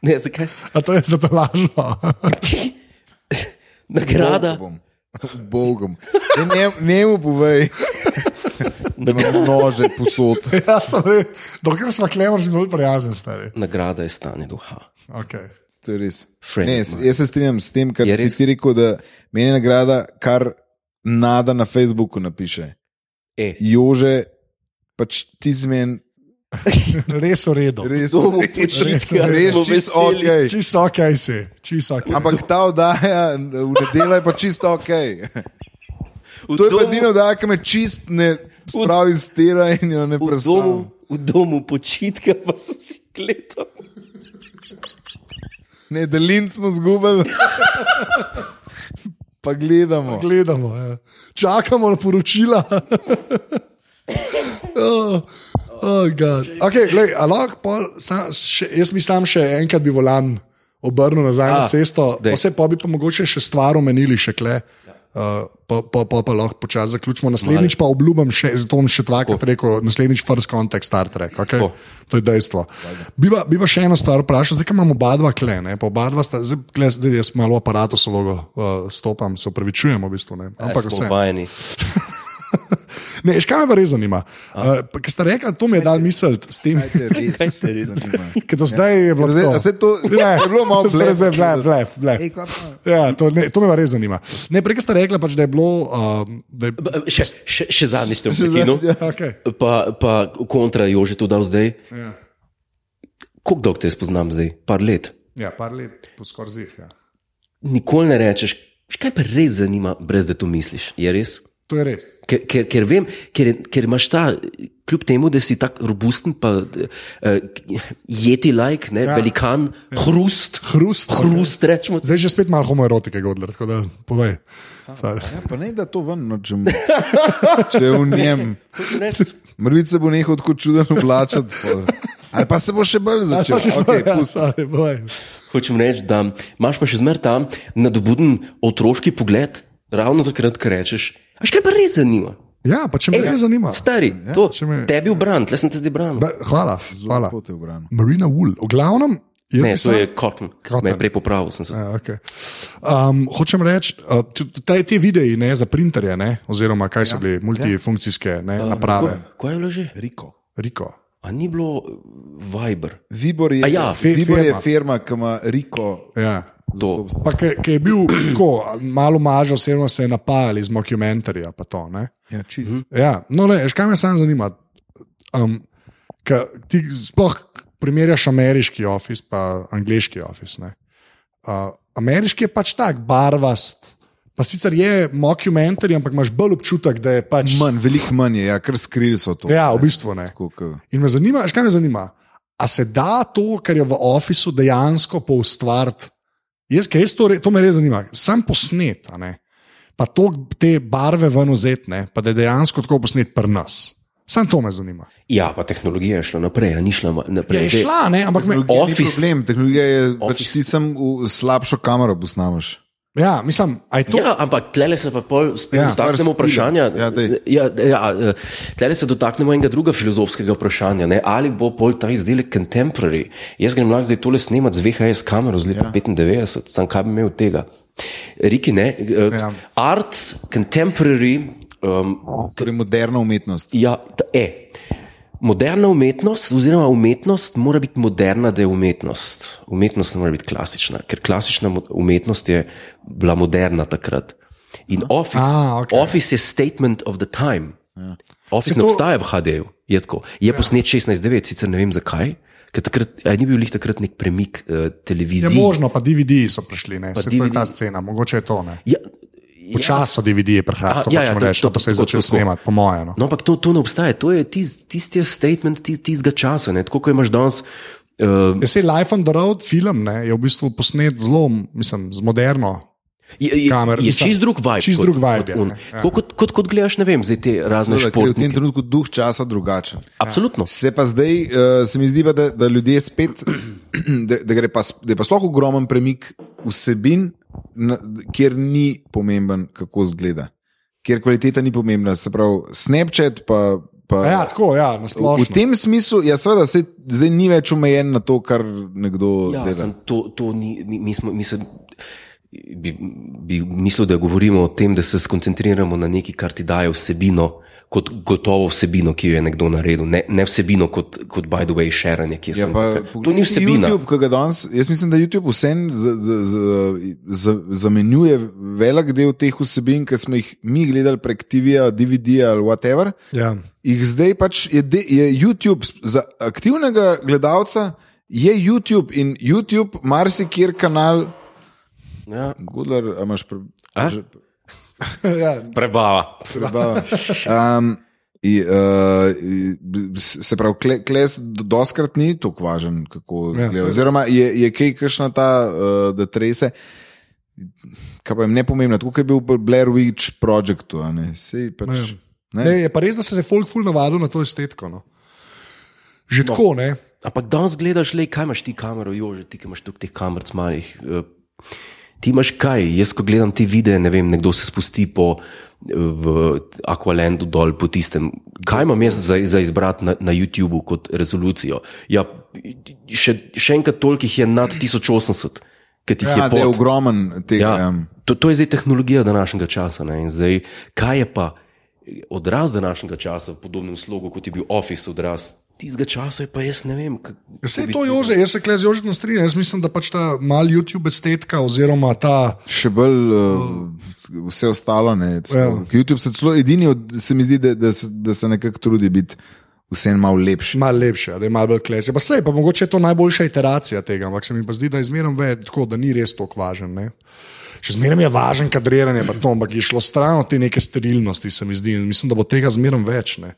A: ne, zakaj? s-
B: A to je zato lažno.
A: Nagrada,
C: Bogom. Bogom. Ne, ne, njemu povej, da ima nože posod.
B: ja, sem rekel, dokler smo klemor, smo bolj prijazni stari.
A: nagrada je stanje duha.
B: Okay.
C: To je res.
A: Frank
C: Ne, jaz, jaz se strinjam s tem, kar
A: Je
C: si
A: res.
C: ti rekel, da meni je nagrada, kar nada na Facebooku napiše.
A: E,
C: Jože, pač ti zmen,
B: Res v redu.
C: res
A: to bomo
B: Ja,
A: počitka,
C: Res
A: bomo
C: čisto
A: veseli.
C: ok.
B: Čisto ok si, čisto ok.
C: Ampak ta oddaja, v nedeljo je pa čisto ok.
A: V
C: To je pa
A: domu-
C: edina oddaja, ki me čist ne spravi iz tira in jo ne
A: V
C: predstavlja.
A: domu, v domu počitka pa so vsi kleto.
C: Ne, delin smo zgubili. Pa gledamo.
B: Gledamo, ja. čakamo na poročila. oh, oh God. okay, lej, a lahko pol, sam, še, jaz bi sam še enkrat bi volan obrnil nazaj na
A: A,
B: cesto,
A: Ah, daj. Ja.
B: vse pa bi pa mogoče še stvar omenili, še kle. Uh, pa, pa, pa, pa lahko počasi zaključimo. Naslednjič pa obljubim, še, zato bom še dvakrat rekel, naslednjič first contact Star Trek. Okay?
A: Tako.
B: To je dejstvo. Bi pa, bi pa še eno stvar vprašal, zdaj ko imamo oba dva kle, ne, pa oba dva sta, zdaj, kle, zdaj jaz malo aparato sologo uh, stopam, se upravičujem v bistvu. Ne, ampak
A: Smo
B: vse.
A: vajeni.
B: Ne, še kaj me pa res zanima. Uh, pa, Ker ste rekli, to mi je dal misel s tem,
C: Kaj te res
A: Kaj te res?
C: zanima?
B: ker do Ja. zdaj je bilo
C: Zdaj, a
B: tako.
C: se to je bilo malo
B: Zdaj, zdaj, blef,
C: blef.
B: blef, blef.
C: Ej, kaj pa?
B: Ja, to, ne, to me pa res zanima. Ne, prej ko ste rekli, pač, da je bilo. Um, da je,
A: B- Še, še, še zadnjič sem prekinil,
B: okay.
A: pa, pa kontra Jože to dal zdaj.
B: ja.
A: Kako dolgo te spoznam zdaj? Par let.
B: ja, par let po skoraj zih. Ja.
A: Nikoli ne rečeš, "Veš, kaj pa res zanima, brez da to misliš. Je res?
B: To je res.
A: Ker, ker, ker vem, ker, ker imaš ta, kljub temu, da si tako robusten, pa uh, jeti like, ne, ja.
B: Ja.
A: velikan, ja. hrust,
B: Hrust.
A: hrust rečemo.
B: Zdaj že spet malo homoerotike, Godler, tako da povej.
A: Ah,
B: Sorry.
C: Ja, pa ne da to ven, nočem. Če je v njem.
A: Hočem reči,
C: Mrvic se bo nehal tako čuden oblačati. pol. Ali pa se bo še bolj začel. Okay,
B: ja,
C: pusti.
B: sorry, povej.
A: hočem reči, da imaš pa še zmeraj ta nadobuden otroški pogled, ravno takrat, ko rečeš, a kaj pa res zanima.
B: ja, pa če me res zanima.
A: Stari, ja, to,
B: če me-
A: tebi obrant, le sem te zdaj branil.
B: Ba, hvala, hvala.
C: Pot je ubran.
B: Marina Wool, v glavnem. jaz
A: Ne,
B: bi
A: to
B: sam-
A: je Cotton,
B: Cotton.
A: me je prej popravil. sem se.
B: Ja, okay. um, hočem reči, uh, tudi te, te videi ne, za printerje, ne, oziroma kaj so ja, bile multifunkcijske ne, uh, naprave,
A: Ko, ko je bilo že?
C: Riko.
B: Riko.
A: A ni bilo uh, Viber?
C: Vibor je,
A: A ja,
B: fe-
C: Vibor je
B: firma.
C: firma, ki ima Riko.
B: Ja.
A: To.
B: Pa, ki, ki je bil tako, malo mažo, vseeno se je napajal iz dokumentarja.
C: Ja, čisto.
B: Ja, no, le, veš, kaj me samo zanima. Um, ka, ti sploh primerjaš ameriški office, pa angliški office. ne. Uh, ameriški je pač tak, barvast. Pa sicer je mockumentary, ampak imaš bolj občutek, da je pač.
C: Manj, veliko manj je, ja, ker skrili so to.
B: Ja, v bistvu ne.
C: Tako, ke-
B: In me zanima, veš, kaj me zanima. A se da to, kar je v ofisu, dejansko poustvariti? Jaz, ker jaz to, re- to me res zanima, sam posnet, a ne? pa to, te barve ven uzetne, pa da je dejansko tako posnet pri nas. Sam to me zanima.
A: Ja, pa tehnologija je šla naprej, a ni šla ma-
B: Ja,
A: naprej.
B: je
A: Zdaj-
B: šla, ne, ampak me,
A: Tehnologija-
C: Ni
A: Office.
C: problem, tehnologija je, pač
A: Office.
C: ti sem v slabšo kamero posnamaš.
B: ja, mislim, aj to.
A: Ja, ampak tlele se pa pol spet
B: Ja,
A: ja,
C: stvar
A: dotaknemo vprašanja.
C: stila. Ja, daj.
A: ja, ja, eh, tlele se dotaknemo enega drugega filozofskega vprašanja, ne? ali bo pol ta izdelek contemporary. Jaz grem lahko zdaj tole snemati z VHS kamero z leta ja. 95, sam kaj bi imel od tega. Riki ne,
B: Ja.
A: ja. art, contemporary, um,
C: Torej, moderna umetnost.
A: ja, ta, e. Moderna umetnost, oziroma umetnost, mora biti moderna, da je umetnost. Umetnost ne more biti klasična, ker klasična mo- umetnost je bila moderna takrat. In Office,
B: A,
A: ah,
B: okej.
A: okay. office je statement of the time. Ja. Office
B: Se
A: to... ne
B: to-
A: obstaja v HD-ju, je tako. Je ja. posnet 16:9, sicer ne vem zakaj, ker takrat, a ni bil lih takrat nek premik uh,
B: Je
A: televizije.
B: možno, pa DVD so prišli, ne, se to je
A: DVD.
B: ta scena, mogoče je to. Ne.
A: Ja,
B: Počasno DVD je
A: Aha,
B: prihajalo, to
A: ja,
B: hočem
A: ja, to-
B: reči, to
A: to-
B: pa se je
A: tako,
B: začelo
A: tako.
B: snemati, po mojem. No.
A: No, ampak to, to ne obstaja, to je tisti tist je statement tis- tistega časa, ne? tako kot imaš danes. Uh,
B: Ja, saj Life on the Road film ne, je v bistvu posnet zelo, mislim, z moderno
A: Je, je,
B: kamer,
A: je
B: mislim,
A: čist drug vibe.
B: čist
A: kot-
B: drug vibe
A: Kot,
B: je,
A: un.
B: ne, ja.
A: Tako kot, kot, kot gledaš, ne vem, zdaj te razne
C: Seveda, ker je v tem
A: Ja, športnike.
C: trenutku duh časa drugačen.
A: Absolutno.
C: Se pa zdaj, uh, se mi zdi, pa, da, da ljudje spet, da, da, gre pa, s- da je pa sploh ogromen premik vsebin, na, kjer ni pomemben, kako zgleda, kjer kvaliteta ni pomembna. Se pravi, Snapchat pa. pa
B: Ja, tako, ja, na
C: v,
B: splošno.
C: v tem smislu, ja, seveda, se, zdaj ni več omejen na to, kar nekdo
A: Ja,
C: dela.
A: sem, to, to ni, mi, mi smo, mi se, bi, bi mislil, da govorimo o tem, da se skoncentriramo na nekaj, kar ti daje vsebino, kot gotovo vsebino, ki jo je nekdo naredil. Ne, ne vsebino kot, kot by the way, šeranje, ki je
C: Ja,
A: sem-
C: pa,
A: To ni
C: poglejte
A: vsebina.
C: YouTube, ki ga danes, jaz mislim, da YouTube vsem z- z- z- z- zamenjuje velik del teh vsebin, ki smo jih mi gledali prek TV-ja, DVD-ja ali whatever.
B: Ja.
C: Jih zdaj pač je, de, je YouTube s- za aktivnega gledalca. Je YouTube in YouTube, marsikjer kanal,
A: Ja.
C: Gudler, a imaš pre,
A: A?
C: že-
B: ja,
A: Prebava.
C: prebava. Um, i, uh, i, b- se pravi, kle- kles doskrat ni tako važen, kako
B: Ja,
C: gleda.
B: to je-
C: Oziroma, je, je kaj kakšna ta, uh, da trese. Kaj pa jim ne pomembno, tako kot je bil pri Blair Witch Projectu. a Ne? Sej
B: Ja.
C: Pač, ne?
B: Ne, je pa res, da se je folk ful navadil na to estetiko. No. Že no. tako, ne?
A: Ampak danes gledaš, le, kaj imaš ti kamero, jože, ti ki imaš tu teh kamer malih. eh, Ti imaš kaj, jaz ko gledam te videe, ne vem, nekdo se spusti po eh, v Aqualandu dol po tistem. Kaj imam jaz za, za izbrati na, na YouTubu kot rezolucijo? Ja, še, še enkrat toliko jih je nad 1080, ki jih
C: Ja,
A: je
C: da je
A: pod.
C: ogromen tega.
A: Ja, to, to je zdaj tehnologija današnjega časa. ne, in Zdaj, kaj je pa odraz današnjega časa, v podobnem slogu kot je bil Office odraz, tistega časa je pa jaz ne vem. k-
B: Vse
A: bi-
B: Ja, to Jože, jaz se klej z Jožem strinjam, jaz mislim, da pač ta mal YouTube estetika oziroma ta.
C: Še bolj uh, vse ostalo. Ne, celo,
B: Ja.
C: YouTube se celo edini, od, se mi zdi, da, da, se- da se nekako trudi biti vsem malo lepši.
B: Mal lepše, da je malo bolj klesje. Pa sej, pa mogoče je to najboljša iteracija tega, ampak se mi pa zdi, da je zmeraj ve, tako, da ni res tako važen. Ne? Še zmeraj je važen kadriranje, pa to, ampak je šlo stran od te neke sterilnosti, se mi zdi. In Mislim, da bo tega zmeraj več. ne.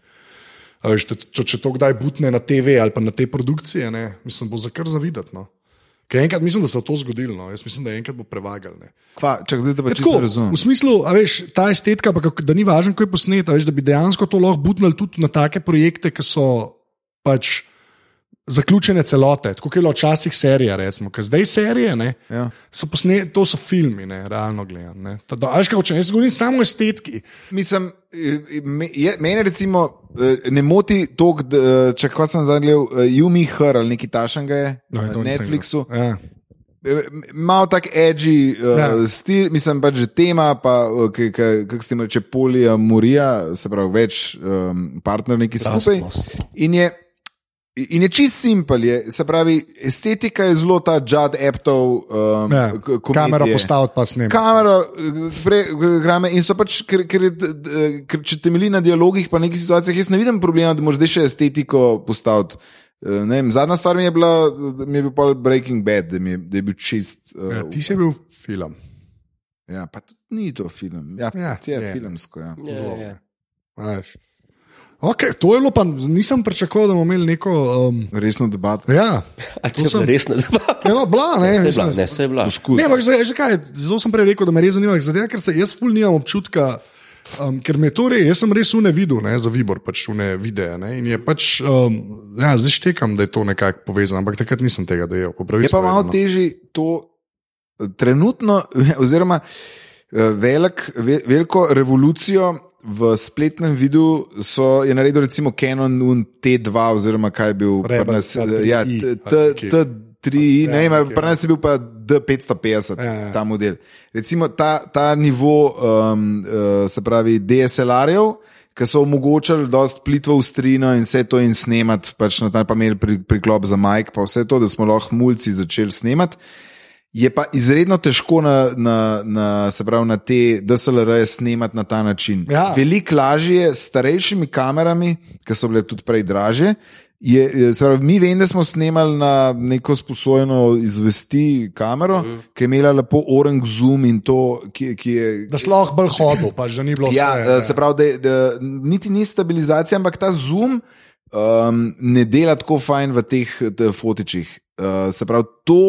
B: A veš, te- Če, če to kdaj butne na TV ali pa na te produkcije, ne? mislim, bo za kar zavidati. No? Ker enkrat mislim, da se bo to zgodilo, no? jaz mislim, da enkrat bo prevagal. Ne?
C: Kva, čak, zdaj, da pa
B: Ja,
C: čisto
B: Tako,
C: ne razumem.
B: v smislu, a veš, ta estetika, pa kako- da ni važno, kako je posneta, veš, da bi dejansko to lahko butnili tudi na take projekte, ki so pač zaključene celote, tako kot je bilo včasih serija, recimo, ker zdaj serije, ne,
C: Ja.
B: so posne, to so filmi, ne, realno gledano. Veš, kaj hočem, jaz govorim samo o estetiki.
C: Mislim, eh, me- je- mene recimo eh, ne moti to, če kaj sem zdaj gledal, eh, Yumi Her ali nekaj tašanga je
B: No,
C: na
B: to nisem
C: Netflixu.
B: gledal. Ja.
C: Eh, Malo tak edgy uh, ja.
B: Ja.
C: stil, mislim pač že tema, pa eh, kako se jim reče poliamorija, se pravi več um, partnerjev neki skupaj.
A: Lastnost.
C: In je, in je čist simpel, je, se pravi, estetika je zelo ta Judd Aptov, um,
B: Ja.
C: k- komedije.
B: Kamero postaviti pa snem.
C: Kamero, grame in so pač, ker, ker, je d- d- ker če temelji na dialogih, pa nekih situacijah, jaz ne vidim problema, da moraš zdaj še estetiko postaviti. Eh, Ne Vem, zadnja stvar mi je bila, da mi je bil pol Breaking Bad, da, mi je, da je bil čist. Uh,
B: Ja, ti si bil film.
C: ja, pa tudi ni to film. Ja, ja
B: Ja,
C: je, je
B: je.
C: filmsko. Ja.
A: Ja,
B: zelo.
A: ja.
B: Okay, to je bilo, pa nisem pričakoval, da bomo imeli neko. Um,
C: Resno debat.
B: ja,
A: A to
B: sem-
A: je resna zabava.
B: eno bla, ne.
A: Ne,
B: mislim,
A: ne, se Ja, je bila.
C: Poskus.
B: Ne, ampak zdaj, že kaj, zelo sem prej rekel, da me res zanima, zato, ker se jaz ful nimam občutka, um, ker me to res, jaz sem res une videl, ne, za Vibor, pač une videe. Ne, in je pač, um, ja, zdaj štekam, da je to nekako povezano, ampak takrat nisem tega dojel. po pravici
C: Je pa malo
B: povedano.
C: težje to eh, trenutno, oziroma eh, velik, ve- veliko revolucijo v spletnem vidu so, je naredil recimo Canon Un T2, oziroma kaj je bil pri
B: Rebel
C: nas,
B: T3i,
C: ja, T-
B: ali
C: T-
B: nekaj.
C: T3,
B: Ja,
C: ne vem,
B: nekaj,
C: pri nas je bil pa D550,
B: Ja, ja.
C: ta model. Recimo ta, ta nivo, um, uh, se pravi DSLR-jev. Ki so omogočili dosta plitvo ustrino in vse to, in snemati, pač na ta pa imeli pri, priklop za majk, pa vse to, da smo lahko mulci začeli snemati. Je pa izredno težko na, na, na, se pravi, na te DSLR-je snemati na ta način.
B: Ja.
C: Veliko lažje je s starejšimi kamerami, ki so bile tudi prej draže. Je, je, se pravi, mi vem, da smo snemali na neko sposojeno izvesti kamero, mm. ki je imela lepo orang zoom in to, ki, ki je.
B: Da si lahko bolj hodil, pač, da ni bilo
C: Ja,
B: vse.
C: eh, se pravi, da, je- da niti ni stabilizacija, ampak ta zoom um, ne dela tako fajn v teh eh, fotičih. Uh, se pravi, to,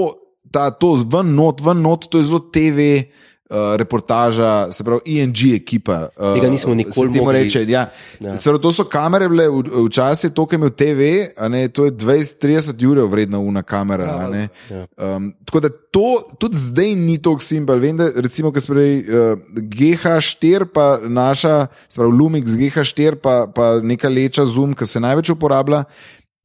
C: ta, to ven not, ven not, to je zelo TV. Uh, reportaža, se pravi, ING ekipa. Uh,
A: Tega nismo nikoli
C: se temu
A: mogli.
C: reče. Ja. Ja.
A: Ja.
C: Pravi, to so kamere, bile, v- včasih je to, kar je imel TV, a ne, to je 20-30 ur vredna una kamera.
B: Ja,
C: a ne.
A: ja.
C: Um, tako da to tudi zdaj ni tako simbol. Vem, da recimo, ki smo prej uh, GH4, pa naša, sprav Lumix GH4, pa, pa neka leča zoom, ki se največ uporablja,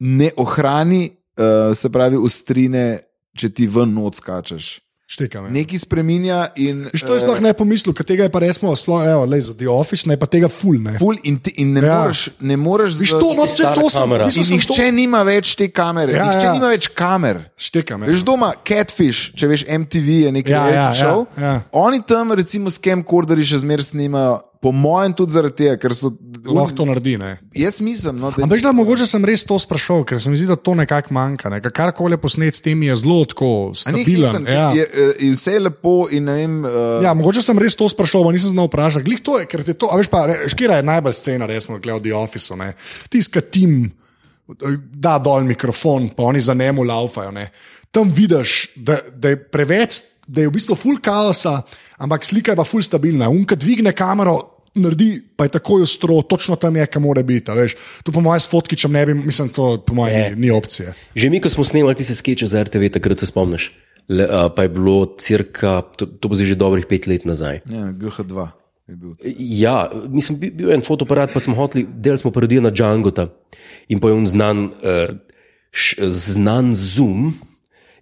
C: ne ohrani, uh, se pravi, ostrine, če ti ven noč skačeš.
B: Štekam. Ja.
C: Nekaj spreminja in.
B: Viš, to je sploh
C: eh,
B: ne pomislil, ker tega je pa resmo, sploh, evo, lej, za The Office, ne pa tega ful. Ne.
C: Ful in, ti, in ne
B: Ja.
C: moreš, ne moreš
B: Viš, to, no, če to sem,
A: kamera.
B: mislil
C: In
B: sem, to
C: nihče nima več te kamere, ja,
B: Ja,
C: nihče ja.
B: ja.
C: nima več kamer.
B: štekam.
C: Veš doma, Catfish, če veš, MTV je nekaj
B: Ja,
C: ja, ja,
B: ja,
C: šov.
B: ja, ja.
C: Oni tam, recimo, s Camcorderji še zmeraj snimajo, po mojem, tudi zaradi tega, ker so.
B: Lahko to naredi. Ne.
C: Jaz mislim, no, da
B: Ampak, veš, da mogoče sem res to sprašal, ker se mi zdi, da to nekako manjka. Ne. Kar koli posneti s tem je zelo tako
C: A ni
B: stabilen.
C: hecen,
B: Ja.
C: je, eh, je vse je lepo in ne vem. Uh,
B: Ja, mogoče sem res to sprašal, pa nisem znal vprašati. Glih to je, ker ti to, a veš pa, re- škira je najbolj scena, resno, gledal The Office, tiska tim, eh, da dol mikrofon, pa oni za njemu laufajo. Ne. Tam vidiš, da, da je preveč, da je v bistvu full kaosa, ampak slika je pa full stabilna. Unka dvigne kamero. Naredi, pa je tako ostro, točno tam je, kam mora biti. a veš. To, po mojem, s fotkičem ne bi, mislim, to po mojem, ni, ni opcije.
A: Že mi, ko smo snemali tiste skeče za RTV, takrat se spomniš. le, a, pa je bilo cirka, to, to bo zdaj že dobrih pet let nazaj.
C: Ja, GH2 je bil.
A: Ja, mislim, bi- bil je en fotoaparat, pa smo hoteli, delali smo parodijo na Džangota in pa je on znan, eh, š, znan zoom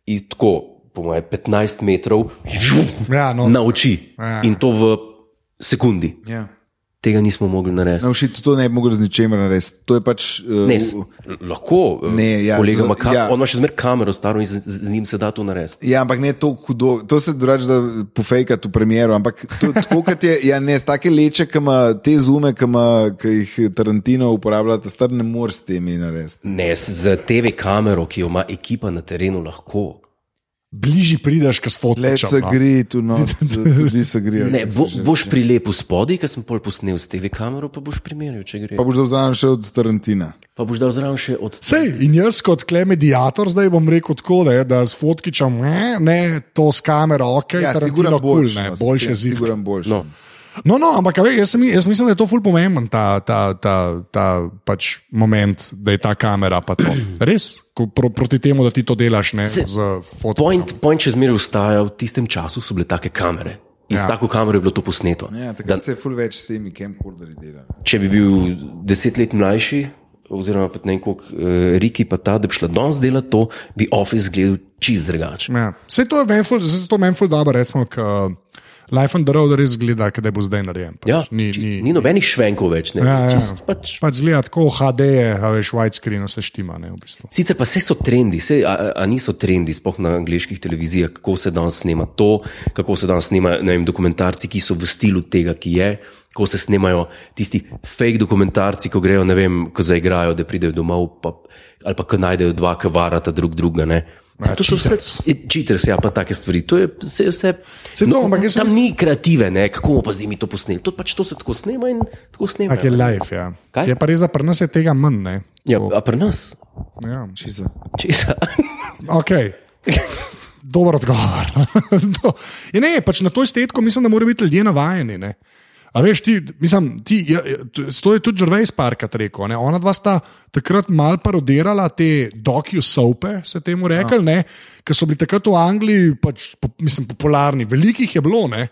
A: in tako, po moje, 15 metrov
B: Ja, no.
A: na oči
B: Ja.
A: in to v sekundi.
C: Ja.
A: Tega nismo mogli narediti.
C: Naučiti No, to ne bi mogel z ničemer narediti. To je pač. Uh,
A: Ne, s- lahko,
C: Ne,
A: ne, ja,
C: ja,
A: kolega,
C: za-
A: ima ka,
C: ja.
A: ja. on ima še zmeraj kamero staro in z, z njim se da to narediti.
C: Ja, ampak ne to hudo, to se drugače da pofejkati v premjeru, ampak to, tako kot je, ja, ne, z take leče, ki ima te zume, ki ima- ki jih Tarantino uporablja, ta star ne more s temi narediti.
A: Ne, s z TV kamero, ki jo ima ekipa na terenu, lahko.
B: Bližje prideš, kot
C: Let's
B: fotografijo. No.
C: agree, tu no, tudi se agree.
A: Ne, bo, boš prilepil spodaj, ker sem pol posnel s TV kamero, pa boš primerjal, če gre.
C: Pa boš dal zraven še od Tarantina.
A: Pa boš dal zraven še od
B: Sej, in jaz kot kle medijator zdaj bom rekel tako, ne, da s fotkičem, ne, ne to s kamero, ok,
C: Ja,
B: Tarantino
C: sigurno
B: kul,
C: boljše.
B: ne,
C: no,
B: boljše
C: ja,
B: zid.
C: Sigurno boljše.
A: No.
B: No, no, ampak a ve, jaz, sem, jaz mislim, da je to ful pomemben, ta, ta, ta, ta pač moment, da je ta kamera pa to. Res, ko, pro, proti temu, da ti to delaš, ne z fotografijo.
A: Point, point še zmeraj ostaja, v tistem času so bile take kamere. In ja. s
B: Ja.
A: tako kamero je bilo to posneto.
C: Ja,
A: da,
C: takrat se je ful več s temi camcorderji delalo.
A: če bi bil deset let mlajši, oziroma pa ne vem koliko, eh, Riki pa ta, da bi šla danes delati to, bi Office gledal čist drugače.
B: Ja. Vse to je meni ful, zdaj se to meni ful dobro, recimo, k Life on the Road res zgleda, kaj bo zdaj narejen. Pač.
A: Ja,
B: ni,
A: čist,
B: ni,
A: ni nobenih švenkov več. Ne,
B: Ja, ja.
A: čist, Pač,
B: Pač zgleda tako HD, je, a veš, widescreen, vse štima. Ne, v bistvu.
A: Sicer pa vse so trendi, vse, a, a- a niso trendi, spoh na angliških televizijah, kako se danes snema to, kako se danes snema ne vem, dokumentarci, ki so v stilu tega, ki je, kako se snemajo tisti fake dokumentarci, ko grejo, ne vem, ko zaigrajo, da pridejo domov, pa, ali pa ko najdejo dva, ki varata drug druga. Ne.
B: Ja,
A: To so vse
B: cheaters.
A: čiters, ja, pa take stvari. To je vse. vse no,
B: Saj to, ampak jaz
A: tam ni kreative, ne, kako bomo pa z njimi to posneli. To, pač, to se tako snema in tako snema.
B: Tak je life, é ja.
A: Kaj?
B: Je pa res, da pri nas je tega manj. Ne,
A: Ja,
B: Tako,
A: a pri nas?
B: ja.
C: Čisto.
A: Česa?
B: Okay. Dober odgovor. Do. Ja, ne, pač na to iztetko mislim, da morajo biti ljudje navajeni. Ne. A veš, ti, mislim, ti, ja, ja, t- to je tudi Žrvej Sparkat rekel. Ne. Ona dva sta takrat mal parodirala te docu-sope, se temu
C: Ja.
B: rekli, ki so bili takrat v Angliji pač, po, mislim, popularni. Velikih je bilo. Ne.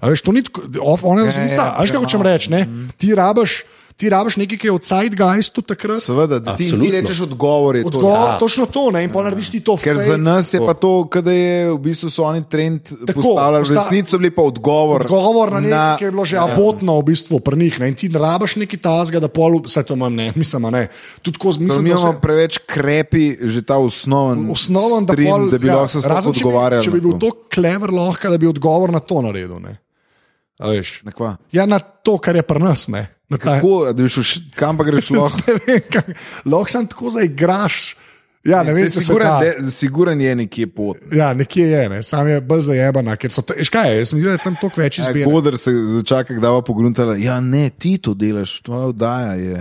B: A veš, to ni tako, of- ona se nista,
C: ja,
B: a veš, kaj
C: ja,
B: hočem
C: ja.
B: reči. ne. Ti rabiš, ti rabiš nekaj, ki je od Sidegeist takrat.
C: Seveda, da ti, ti
A: Absolutno. Ja.
C: rečeš odgovor, je to. ja.
B: Odgovor, točno to, ne, in pa narediš ti to.
C: Ker
B: fake.
C: za nas je pa to, kot da je v bistvu so oni trend
B: Tako,
C: postavljali, v
B: posta-
C: resnici so bili pa odgovor. Ja.
B: Govor na nekaj, ki je bilo že abotno, v bistvu, pri njih. Ne? In ti ne rabiš neki tazga, da pol, vse to imam, ne, mislim, a ne. Tudi ko
C: Mi
B: mislim, da
C: imamo
B: se
C: preveč krepi, že ta osnoven,
B: osnoven, da,
C: stream,
B: pol,
C: da bi
B: ja,
C: lahko se sploh
B: razen če bi-
C: odgovarjali.
B: Če bi bil to klever, lahko, da bi odgovor na to naredil. Ne? A veš?
C: Na kva?
B: Ja, na to, kar je pri nas. Ne? Na ta-
C: Kako, a da bi šel, še- kam pa greš lahko?
B: Ne vem, kaj- Lahko sem tako zaigraš. Ja, ne vem, če se
C: Siguren,
B: da.
C: de, siguren je nekje pot.
B: Ja, nekje je, ne? sam je bolj zajebana, ker so, te- veš kaj, je, jaz mislim, da je tam toliko več
C: Ja,
B: izbire.
C: Godr se začaka, da va pogruntala. Ja, ne, ti to delaš, tvoja oddaja je.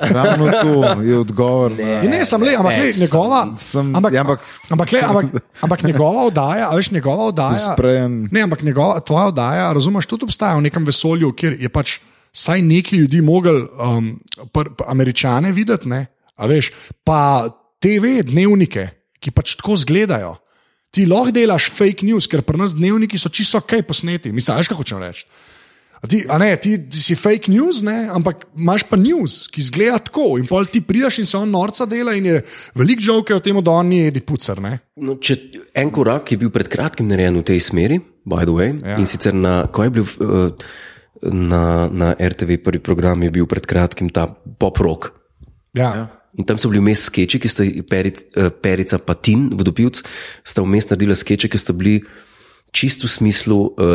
C: Ravno to je odgovor. Ne.
B: In ne, sem le, ampak le,
A: Ne, sem-
B: njegova.
C: sem-
B: ampak,
C: ja,
B: ampak,
C: ampak-
B: ampak, le, ampak, ampak njegova oddaja, a veš, njegova oddaja.
C: Sprejem.
B: Ne, ampak njegova, tvoja oddaja, razumeš, tudi obstaja v nekem vesolju, kjer je pač vsaj neki ljudi mogel um, pr, pr, američane videti, ne, a veš, pa TV dnevnike, ki pač tako izgledajo. Ti lahko delaš fake news, ker pri nas dnevniki so čisto kaj posneti. Mislim, a veš, kaj hočem reči. A Ti, a ne, ti, ti si fake news, ne? ampak imaš pa news, ki zgleda tako. In pol ti prideš in se on norca dela, in je veliko žal, o tem, da on ni edi pucer. Ne?
A: No, če, en korak ki je bil pred kratkim narejen v tej smeri, by the way,
B: Ja.
A: ja. in sicer na, ko je bil eh, na, na RTV prvi program, je bil pred kratkim ta pop rock.
B: Ja. Ja.
A: In tam so bili vmes skeči, ki sta jih peric, eh, perica pa Tin, vodopivc, sta vmes naredila skeče, ki sta bili čist v smislu uh,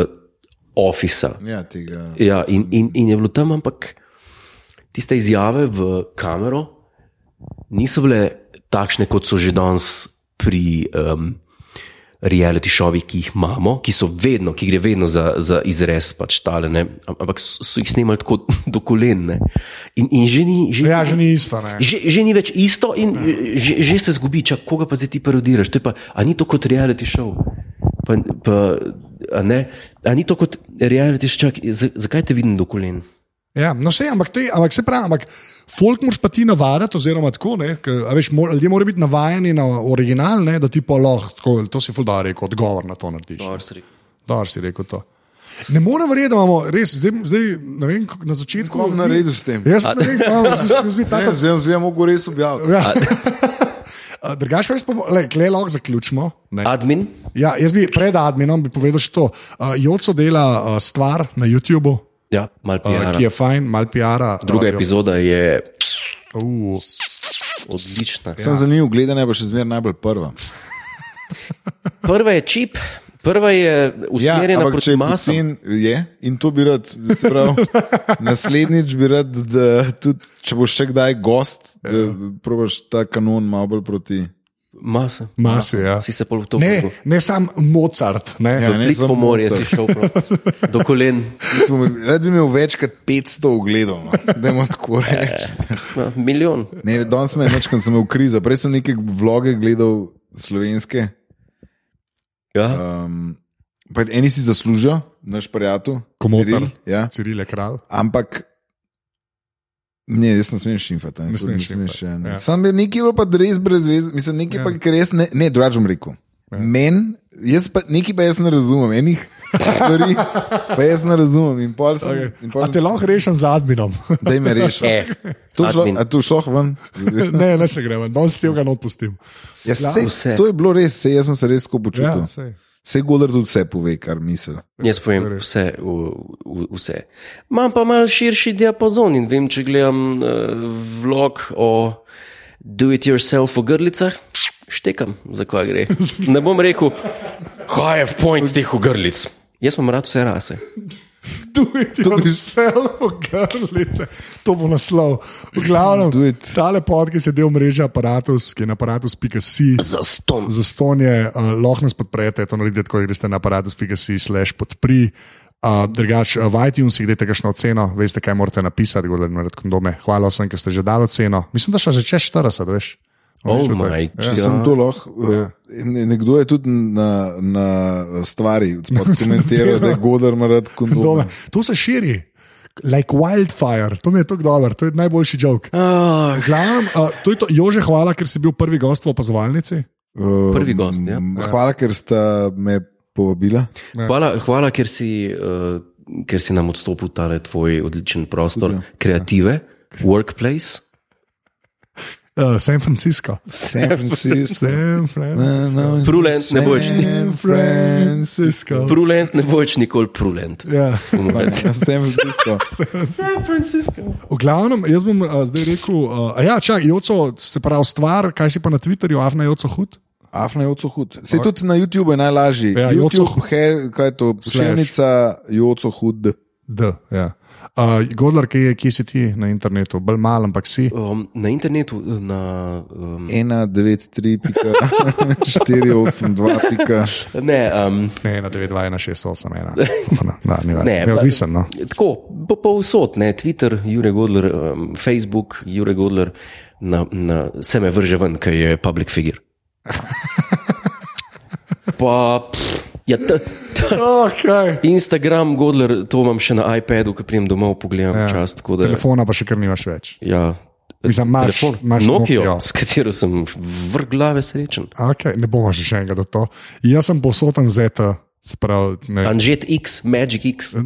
A: ofisa.
C: Ja, tega.
A: Ja, in, in, in je bilo tam, ampak tiste izjave v kamero niso bile takšne, kot so že danes pri um, reality šovih, ki jih imamo, ki so vedno, ki gre vedno za, za izrez, pač tale, ne? Am- ampak so, so jih snimali tako do kolen. ne. In, in že ni. Že,
B: ja, že ni isto. Ne?
A: Že, že ni več isto,
C: Ja.
A: in eh, že, že se zgubi, čak, koga pa zdaj ti parodiraš. To je Pa, a ni to kot reality show? Pa, pa, a, ne, a ni to kot reality show? Čak, za- zakaj te vidim do kolen?
B: Ja, no, vse, ampak, te, ampak se pravi, ampak folk moraš pa ti navaditi, oziroma tako, ne, k, veš, mor, ljudje morajo biti navajeni na original, ne, da ti pa lahko, tako, to si fulda rekel, odgovor na to narediš.
A: Dobro, si rekel.
B: Dobro si rekel to. Ne morem verjeti, da imamo res, zdaj, zdaj ne vem, kako na začetku.
C: Kom naredil s tem?
B: Jaz ne vem, kako se mi zdi tako.
C: Zdaj zdaj mogo res objaviti.
B: Ja. A, Drugač pa jaz pa, le lahko zaključimo. Ne.
A: Admin,
B: Ja, jaz bi pred adminom bi povedal še to. Uh, Joco dela uh, stvar na YouTubu, uh,
A: ja, malo PR.
B: ki je fajn, mal PR-a.
A: Druga epizoda je
B: Uh,
A: odlična.
C: Sem zanimiv, Ja. gledanje pa še zmeraj najbolj prva.
A: Prva je čip, prva je usmerjena ja,
C: ampak
A: proti
C: če
A: masam.
C: pocen je, in to bi rad, se pravi, naslednjič bi rad, da tudi, če boš še kdaj gost, da
A: Ja.
C: probaš ta kanon malo bolj proti.
A: Masa.
B: Mase, ja.
A: Si se pol v to
B: Ne, ne sam Mozart. Ne. Ja,
C: Ja, ne.
B: ne.
A: Klik po
C: samo
A: morju
C: motor.
A: si šel prav. do kolen.
C: Tu bi- Rad bi imel več kot 500 ogledov, no. da imam tako
A: Ja.
C: reči.
A: Ma, Milijon.
C: Ne, danes me je več, kot sem imel krizo. Prej sem neke vloge gledal slovenske.
A: Ja.
C: Um, eni si zaslužijo, naš prijatelj,
B: Komotar.
C: Ciril, Ja.
B: Ciril je kralj.
C: Ampak. Ne, jaz ne smem šimfati. Ne,
B: Ne
C: tudi
B: smeš
C: ne
B: šimfati,
C: smeš. Ja,
B: ja.
C: ne. Sam je nekaj bilo pa res brez veze, mislim, nekaj ja. pa ker res ne, ne dražim rekel. Ja. Men, jaz pa nekaj pa jaz ne razumem, enih stvari pa jaz ne razumem. In pol sem, okay. Ja, in pol,
B: A te lahko rešim z adminom.
C: daj me reši.
A: E, Ja,
C: To šlo,
A: admin.
C: a tu šlo ven?
B: ne, ne, še gremo, da se ga not pustim.
C: Ja,
A: Vse.
C: sej, to je bilo res, sej, jaz sem se res tako
B: Ja,
C: počutil.
B: saj.
C: Vse Golar tudi vse pove, kar misli.
A: Jaz povem vse, v, v, vse. Imam pa malo širši diapazon in vem, če gledam uh, vlog o do-it-yourself v grlicah, štekam, zakaj gre. Ne bom rekel, kaj je point teh grlic. Jaz imam rad vse rase.
B: Do it yourself, grlice. To bo naslov. V glavnem,
C: Do it.
B: tale podcast je del mreže Apparatus, ki je na aparatus.si.
A: Za ston.
B: Za stonje uh, lahko nas podprete, to naredite, ko greste na aparatus.si slash podpri. Uh, drugač, uh, v iTunesih dajte kakšno oceno, veste, kaj morate napisati, gore na redkondome. Hvala vsem, ki ste že dali oceno. Mislim, da še že čez 40, veš.
A: Oh
B: Veš, da-
A: my
C: Če sem
A: god.
C: to lahko.
B: Ja.
C: eh, ne- Nekdo je tudi na, na stvari spod komentiral, da je Godar
B: Dome.
C: rad kondome.
B: To se širi, like wildfire, to mi je tako dobro, to je najboljši žog.
A: Ah,
B: Glavnem, uh, to je to, Jože, hvala, ker si bil prvi gost v opazovalnici.
A: Prvi gost, ja.
C: Hvala, ker sta me povabila.
A: Hvala, hvala ker, si, uh, ker si nam odstopil ta tvoj odličen prostor, kreative, workplace.
B: Uh, San Francisco.
C: San Francisco.
B: San Fran-
A: Prulent ne boš.
C: San
B: Francisco.
A: Prulent ne boš nikoli prulent.
B: Ja.
C: San Francisco.
A: San Francisco.
B: V glavnem, jaz bom uh, zdaj rekel, uh, a ja, čak, Joco, se pravi stvar, kaj si pa na Twitterju, afna Joco hud.
C: Afna je oco hud. Se tudi na YouTubu je najlažji.
B: Ja,
C: YouTube,
B: Joco-
C: he, kaj je to? Šelnica, joco hud.
B: D, ja. Uh, Godler, kje, kje si ti na internetu, bolj mal, ampak si.
A: Um, na internetu, na. Um,
C: 193.482.
A: ne, um,
B: Ne, na 92168, da, ni več.
A: Ne, pa-
B: Neodvisen. No.
A: tako, po, povsod, ne, Twitter, Jure Godler, um, Facebook, Jure Godler, na, na, se me vrže ven, ker je public figure. Pa, pff, ja, ta, ta,
B: Okay.
A: Instagram, Godler, to imam še na iPadu, ko prijem domov, pogledam ja. čas. tako Da,
B: Telefona pa še kar nimaš več.
A: ja,
B: Mislim, imaš-
A: telefon,
B: imaš
A: Nokio,
B: Nokio.
A: s katero sem vrh glave srečen.
B: Okay, ne bomo še, še enkrat do to. Jaz sem posoten z ETA, se pravi, ne.
A: Anžet X, Magic X,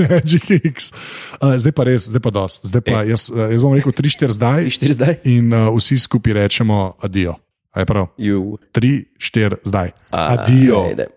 B: Magic X. Uh, zdaj pa res, zdaj pa dost. Zdaj pa, jaz, uh, jaz bom rekel 3-4 zdaj
A: E. štiri zdaj.
B: in uh, vsi skupaj rečemo adijo. A je prav?
A: Ju.
B: 3-4 zdaj.
A: A,
B: Adijo.
A: ajde.